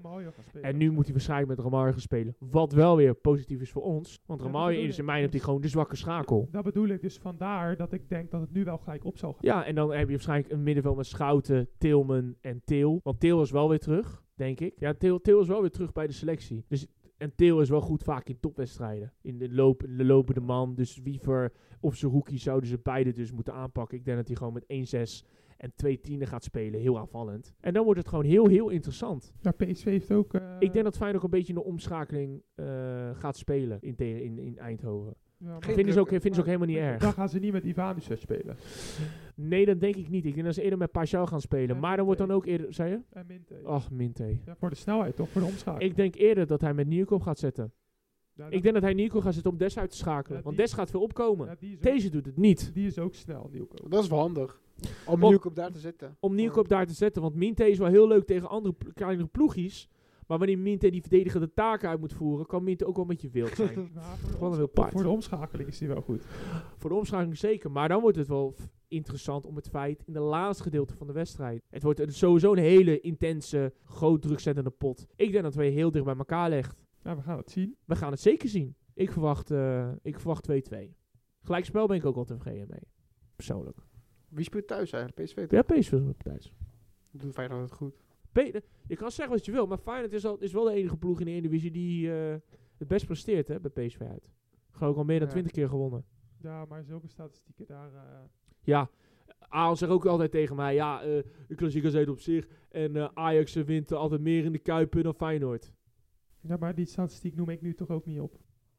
En nu moet hij waarschijnlijk met Ramaljo gaan spelen. Wat wel weer positief is voor ons. Want
Ja, dat
Ramaljo
bedoel
is in
ik.
mijn optiek gewoon de zwakke schakel.
Dat bedoel ik dus vandaar dat ik denk dat het nu wel gelijk op zal gaan.
Ja, en dan heb je waarschijnlijk een middenveld met Schouten, Tilman en Til. Want Til is wel weer terug, denk ik. Ja, Til, Til is wel weer terug bij de selectie. Dus, en Til is wel goed vaak in topwedstrijden. In de, loop, in de lopende man. Dus Wiever of Zerouki zouden ze beide dus moeten aanpakken. Ik denk dat hij gewoon met 1-6 en 2 10 gaat spelen. Heel aanvallend. En dan wordt het gewoon heel, heel interessant.
Maar PSV heeft ook... eh,
Ik denk dat Feyenoord ook een beetje een omschakeling eh, gaat spelen in, tegen- in, in Eindhoven.
ja, maar-
Geen
Vinden ze, ook,
drukken,
vinden ze ook helemaal niet
Dan
erg.
gaan ze niet met Ivanussen spelen.
Nee, dat denk ik niet. Ik denk dat ze eerder met Pashao gaan spelen.
Ja,
Maar dan wordt dan
oké.
ook eerder... Zei je?
En Minte.
Ach, Minte.
Ja, voor de snelheid toch? Voor de omschakeling.
Oh. Ik denk eerder dat hij met Nieuwkoop gaat zetten.
Ja, dat-
Ik denk dat hij Nieuwkoop gaat zetten om Des uit te schakelen.
Ja,
Want
die-
Des gaat veel opkomen.
ja, die, is ook,
Deze doet het niet.
die is ook snel, Nieuwkoop.
Dat is wel handig. Om
Op-
Nieuwkoop op daar te zetten.
Om Nieuwkoop daar te zetten. Want Minte is wel heel leuk tegen andere pl- kleinere ploegjes. Maar wanneer Minte die verdedigende taken uit moet voeren... kan Minte ook wel een beetje wild zijn.
Maar voor, de
Gewoon een
omscha-
heel paard.
voor de omschakeling is die wel goed.
Voor de omschakeling zeker. Maar dan wordt het wel f- interessant om het feit in de laatste gedeelte van de wedstrijd. Het wordt een- sowieso een hele intense, groot drukzettende pot. Ik denk dat we heel dicht bij elkaar legt.
Nou, we gaan het zien.
We gaan het zeker zien. Ik verwacht, eh, ik verwacht 2-2. Gelijkspel ben ik ook al tevreden mee. Persoonlijk.
Wie speelt thuis eigenlijk? PSV?
Ja, PSV is op tijd.
Doet Feyenoord het goed.
Pe- Je kan zeggen wat je wil, maar Feyenoord is, al, is wel de enige ploeg in de Eredivisie die eh, het best presteert hè, bij PSV uit. Gewoon al meer dan
Ja.
20 keer gewonnen.
Ja, maar zulke statistieken daar... eh,
Ja, Aal zegt ook altijd tegen mij, ja, eh de klassieker zit op zich. En eh, Ajax eh, wint eh, altijd meer in de Kuipen dan Feyenoord.
ja, maar die statistiek noem ik nu toch ook niet op.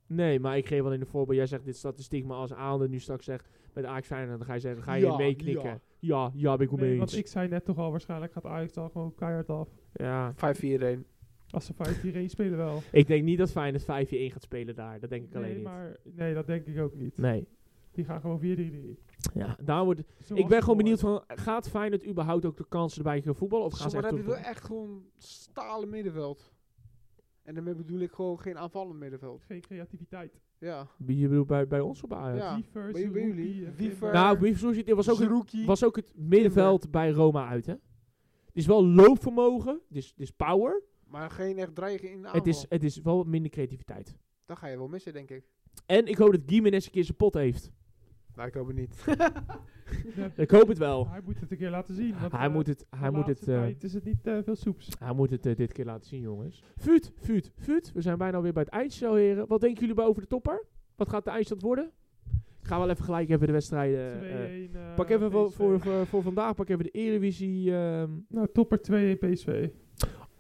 Nee, maar ik geef alleen een voorbeeld. Jij zegt dit statistiek, maar als Aal er nu straks zegt met Ajax Feyenoord, dan ga je zeggen, ga je
Ja,
meeknikken. Ja.
ja.
ja, ben ik wel
Nee,
mee
want
eens.
ik zei net toch al, waarschijnlijk gaat Ajax dan gewoon keihard af.
5-4-1.
Ja.
Als ze 5-4-1 spelen wel.
Ik denk niet dat Feyenoord 5-1 gaat spelen daar. Dat denk ik alleen
nee,
niet.
maar, nee, dat denk ik ook niet.
Nee.
Die gaan gewoon 4-3-3.
Ja, daar wordt
Zoals
Ik ben gewoon
voor.
benieuwd van, gaat Feyenoord überhaupt ook de kansen erbij gaan voetballen? Of gaan
Soms
ze echt
heb je wel
terug-
echt gewoon stalen middenveld. En daarmee bedoel ik gewoon geen aanvallend middenveld.
Geen creativiteit.
Ja.
Je bedoelt bij, bij ons op Ajax?
Ja.
Wie first,
Bij- bij jullie?
Roekie en
Wie
Timber.
first?
Nou, Bief Soesje, dit was ook, het,
Zerouki.
was ook het middenveld bij Roma uit, hè? Het is wel loopvermogen, het is, het is power.
Maar geen echt dreigen
Oh.
in de aanval.
Het is, het is wel wat minder creativiteit.
Dat ga je wel missen, denk ik.
En ik hoop dat Gimenez een keer zijn pot heeft.
Nou, ik hoop het niet.
Ik hoop het wel.
Hij moet het een keer laten zien. Want,
Hij
eh,
moet het,
de
hij moet
laatste
het, eh,
tijd is het niet eh, veel soeps.
hij moet het eh, dit keer laten zien, jongens. Vuut, vuut, vuut. We zijn bijna alweer bij het eindspel, heren. Wat denken jullie bij over de topper? Wat gaat de eindstand worden? Ik ga wel even gelijk even de wedstrijden... eh,
2-1, eh,
Pak even voor,
PSV.
voor, voor, voor vandaag, pak even de Eredivisie. ehm.
Nou, topper 2-1 PSV.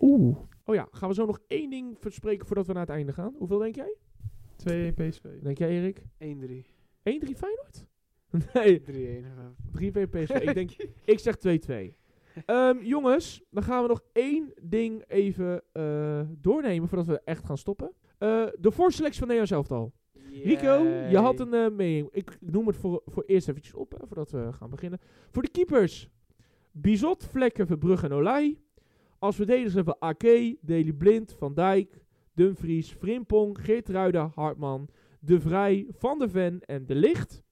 Oeh. Oh ja, gaan we zo nog één ding verspreken voordat we naar het einde gaan. Hoeveel denk jij?
2-1 PSV.
Wat Denk jij, Erik?
1-3. 3-1.
1-3 Feyenoord? Nee,
eh,
3-2 PSV. ik, denk, ik zeg 2-2. Ehm, jongens, dan gaan we nog één ding even eh, doornemen voordat we echt gaan stoppen. Eh, de voorselectie van Nederland zelf al. Rico, je had een eh mening. Ik noem het voor, voor eerst eventjes op, hè, voordat we gaan beginnen. Voor de keepers. Bizot, Vlekken, Verbrugge en Olij. Als verdedigers hebben we Ake, Deli Blind, Van Dijk, Dumfries, Frimpong, Geertruida, Hartman, De Vrij, Van der Ven en De Licht.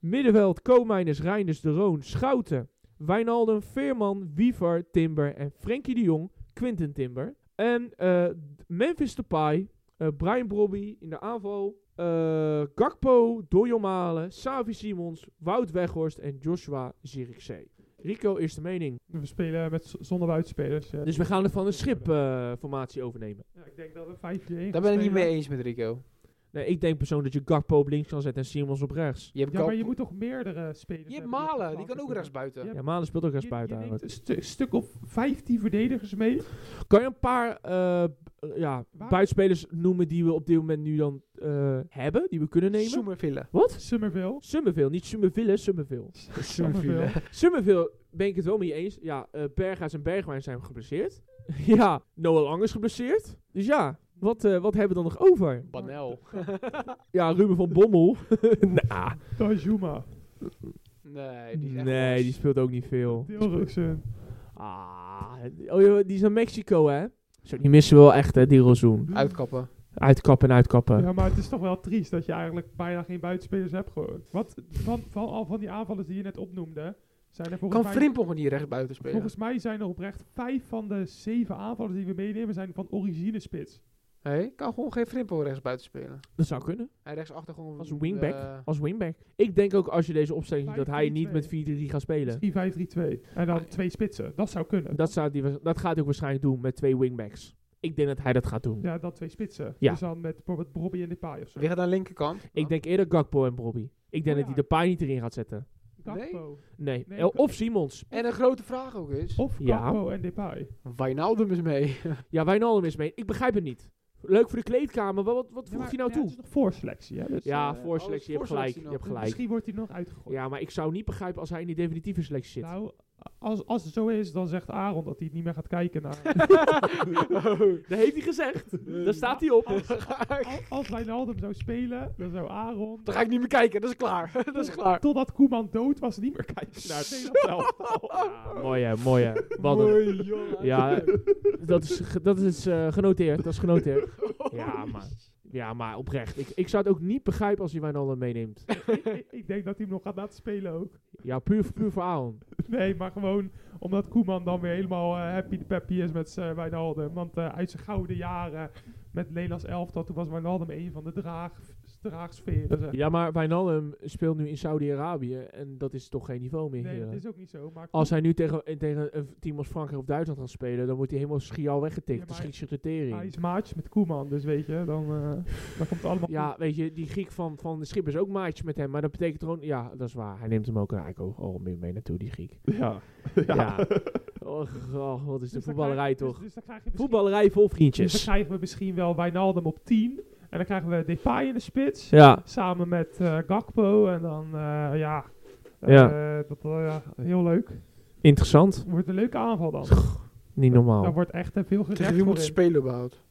Middenveld, Koolmijners, Reinders, De Roon, Schouten, Wijnaldum, Veerman, Wiever, Timber en Frenkie de Jong, Quinten Timber. En eh, Memphis Depay, eh, Brian Brobby in de aanval. eh Gakpo, Dojo Malen, Savi Simons, Wout Weghorst en Joshua Zirkzee. Rico, eerste mening.
We spelen met z- zonder buitenspelers. ja.
Dus we gaan er van een schipformatie overnemen.
Ja, ik denk dat we 5-1 gaan
Daar ben ik niet
spelen.
mee eens met Rico.
Nee, ik denk persoonlijk dat je Gakpo op links kan zetten en Simons op rechts.
Je hebt,
Ja, maar je
Gakpo-
moet toch meerdere spelers
je hebt
hebben
Malen, die
flanken
kan ook
kunnen.
rechts buiten.
Ja.
Ja, Malen speelt ook rechts
Je-
buiten
Je, neemt
eigenlijk.
een stu- stuk of 15 verdedigers mee.
Kan je een paar eh, b- eh, ja,
Waar-
buitenspelers noemen die we op dit moment nu dan eh, hebben, die we kunnen nemen?
Soemerville.
Wat?
Summerville.
Summerville, niet Summerville, Summerville.
Summerville.
Summerville ben ik het wel mee eens. Ja, eh Berghuis en Bergwijn zijn geblesseerd. ja, Noah Lang is geblesseerd. Dus ja, wat, eh, wat hebben we dan nog over?
Banel.
Ja, Ruben van Bommel. Nah.
Tajuma.
Nee, die is echt
Nee,
los.
die speelt ook niet veel.
Dilruxen.
Ah, oh, joh, die is naar Mexico, hè? Zo, die missen we wel echt, hè, die Rozoen.
Uitkappen.
Uitkappen en uitkappen.
Ja, maar het is toch wel triest dat je eigenlijk bijna geen buitenspelers hebt gewoon. Wat van, van, al van die aanvallers die je net opnoemde, zijn er volgens
Kan
mij...
Frimpong gewoon niet rechts buiten spelen?
Volgens mij zijn er oprecht vijf van de zeven aanvallers die we meenemen zijn van origine spits.
Nee, kan gewoon geen Frimpong rechts buiten spelen.
Dat zou kunnen.
En rechtsachter gewoon...
Als wingback.
eh,
Als wingback. Ik denk ook als je deze opstelling ziet, dat hij niet
5-3-2.
met 4-3 gaat spelen.
Misschien 5-3-2. En
Ah,
dan twee spitsen. Dat zou kunnen.
Dat, zou die, wa- dat gaat hij ook waarschijnlijk doen met twee wingbacks. Ik denk dat hij dat gaat doen.
ja, dan twee spitsen.
Ja.
Dus dan met bijvoorbeeld Bobby en Depay of zo.
Wie gaat aan de linkerkant?
Ik denk eerder Gakpo en Bobby. Ik denk
Oh
dat hij
ja.
de paai niet erin gaat zetten.
Gakpo.
Nee.
Nee,
Eh,
ik-
of Simons.
En een grote vraag ook is...
Of
Ja.
Gakpo en Depay.
Wijnaldum is mee.
Ja, Wijnaldum is mee. Ik begrijp het niet. Leuk voor de kleedkamer, maar wat, wat voegt hij nou
Ja,
toe?
het is nog voorselectie. Hè? Dus,
ja,
eh,
voorselectie, je hebt gelijk.
voorselectie
Je
nog.
hebt
Dus
gelijk.
Misschien wordt hij nog uitgegooid.
Ja, maar ik zou niet begrijpen als hij in die definitieve selectie zit.
Nou, als, als het zo is, dan zegt Aaron dat hij het niet meer gaat kijken naar...
Dat heeft hij gezegd. Daar staat hij op.
Al- als Wijnaldum zou spelen, dan zou Aaron...
Dan ga ik niet meer kijken, dat is klaar. dat is klaar.
Totdat Koeman dood was, niet meer kijken naar het Nederlands elftal.
Ja, mooi hè, mooi hè. Wat een...
Oh,
Ja, dat is, ge- dat is eh, genoteerd. Dat is genoteerd. Ja, maar Ja, maar oprecht. Ik, ik zou het ook niet begrijpen als hij Wijnaldum meeneemt.
ik, ik denk dat hij hem nog gaat laten spelen ook.
Ja, puur, puur voor Aaron.
Nee, maar gewoon omdat Koeman dan weer helemaal eh, happy de peppy is met zijn Wijnaldum. Want eh, uit zijn gouden jaren met Nederlands elftal, toen was Wijnaldum een van de draag, draagsferen. zeg.
Ja, maar Wijnaldum speelt nu in Saudi-Arabië en dat is toch geen niveau meer.
Nee,
heren.
dat is ook niet zo. Maar
Als hij nu tegen, eh, tegen een team als Frankrijk of Duitsland gaat spelen, dan wordt hij helemaal schiaal weggetikt.
Ja,
dan
maar-
schiet je de
hij
tering.
is Nou, maatjes met Koeman, dus weet je, dan, eh, dan komt het allemaal
Ja, weet je, die Griek van, van de Schip is ook maatjes met hem. Maar dat betekent gewoon, ja, dat is waar. Hij neemt hem ook eigenlijk ook al mee, mee naartoe, die Griek.
goed. Ja.
Ja. Och, oh, wat is de
Dus dan
voetballerij
krijg- dus-
toch?
dus dan krijg je misschien-
Voetballerij vol
Dus dan
vriendjes.
krijgen we misschien wel Wijnaldum op 10. En dan krijgen we Depay in de spits.
Ja,
Samen met eh, Gakpo. En dan, eh, ja. eh,
Ja.
Dat, eh, ja, heel leuk.
interessant.
Wordt een leuke aanval dan.
Niet
Daar
normaal.
wordt echt eh, veel
Tegen
gezegd
wie
voor
moeten
in.
spelen überhaupt?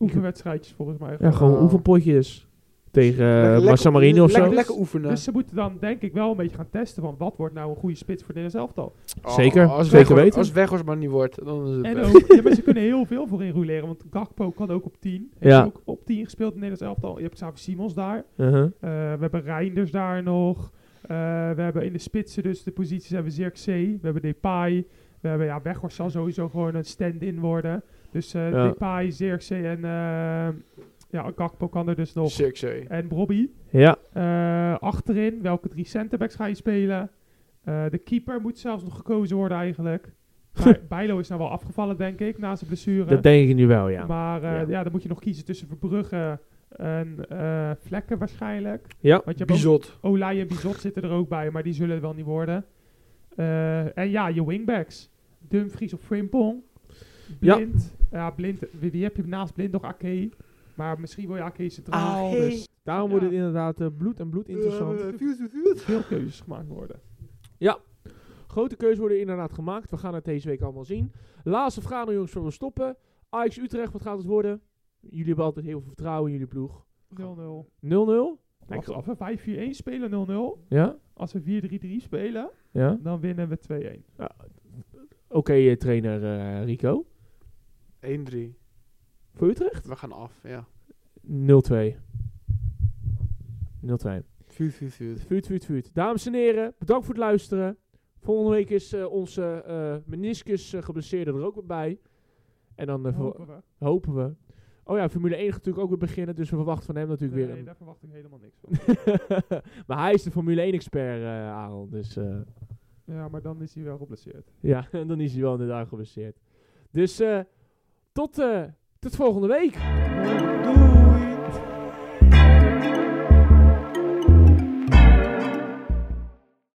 Oefenwedstrijdjes volgens mij.
Ja, gewoon
Ja.
oefenpotjes. Tegen eh,
Lekker-
maar San Marino of
lekker-
zo.
Lekker oefenen.
Dus ze moeten dan denk ik wel een beetje gaan testen van wat wordt nou een goede spits voor Nederlands elftal.
Zeker,
Oh, als
zeker
Weghorst-
weten.
Als Weghorst maar niet wordt, dan is het
En
best.
ook, ja, maar ze kunnen heel veel voor inrouleren, want Gakpo kan ook op 10. Heeft
Ja.
ook op 10 gespeeld in het Nederlands elftal. Je hebt Xavi Simons daar.
Uh-huh.
Eh, we hebben Reinders daar nog. Eh, we hebben in de spitsen dus de posities hebben we Zirkzee. We hebben Depay. We hebben ja, Weghorst zal sowieso gewoon een stand-in worden. Dus eh
Ja.
Depay, Zirkzee en eh ja, Gakpo kan er dus nog.
Cirque.
En Bobby.
Ja,
Eh, achterin, welke drie centerbacks ga je spelen? Eh, de keeper moet zelfs nog gekozen worden eigenlijk. Bij- Bijlo is nou wel afgevallen, denk ik, na zijn blessure.
dat denk ik nu wel, ja.
Maar eh,
Ja.
ja. dan moet je nog kiezen tussen Verbrugge en eh, Vlekken waarschijnlijk.
Ja,
Want je hebt ook
Bizot.
Olij en Bizot zitten er ook bij, maar die zullen het wel niet worden. Eh, en ja, je wingbacks. Dumfries of Frimpong.
Ja.
Blind. Ja, blind. Wie, wie heb je naast Blind nog? Ake. Maar misschien wil je Ake centraal.
Ake.
Dus
daarom wordt het inderdaad eh, bloed en bloed interessant.
Eh.
veel keuzes gemaakt worden.
Grote keuzes worden inderdaad gemaakt. We gaan het deze week allemaal zien. Laatste vraag nog jongens voor we stoppen. Ajax Utrecht, wat gaat het worden? Jullie hebben altijd heel veel vertrouwen in jullie ploeg.
0-0. Nou,
0-0?
ik geloof Als we 5-4-1 spelen 0-0.
Ja?
Als we 4-3-3 spelen,
Ja?
dan winnen we 2-1.
Oké, eh, trainer eh, Rico.
1-3.
Voor Utrecht?
We gaan af, ja.
0-2. 0-2.
Vuut, vuut, vuut.
Vuurt, vuurt, vuurt. Dames en heren, bedankt voor het luisteren. Volgende week is eh, onze eh meniscus eh, geblesseerde er ook weer bij. En dan eh,
Hopen
ver-
we.
hopen we. Oh ja, Formule 1 gaat natuurlijk ook weer beginnen. Dus we verwachten van hem natuurlijk
Nee,
weer een
daar verwacht ik helemaal niks van.
maar hij is de Formule 1-expert, eh Aaron. Dus eh,
ja, maar dan is hij wel geblesseerd.
ja, en dan is hij wel inderdaad geblesseerd. Dus eh, tot, eh, tot volgende week.
Doei.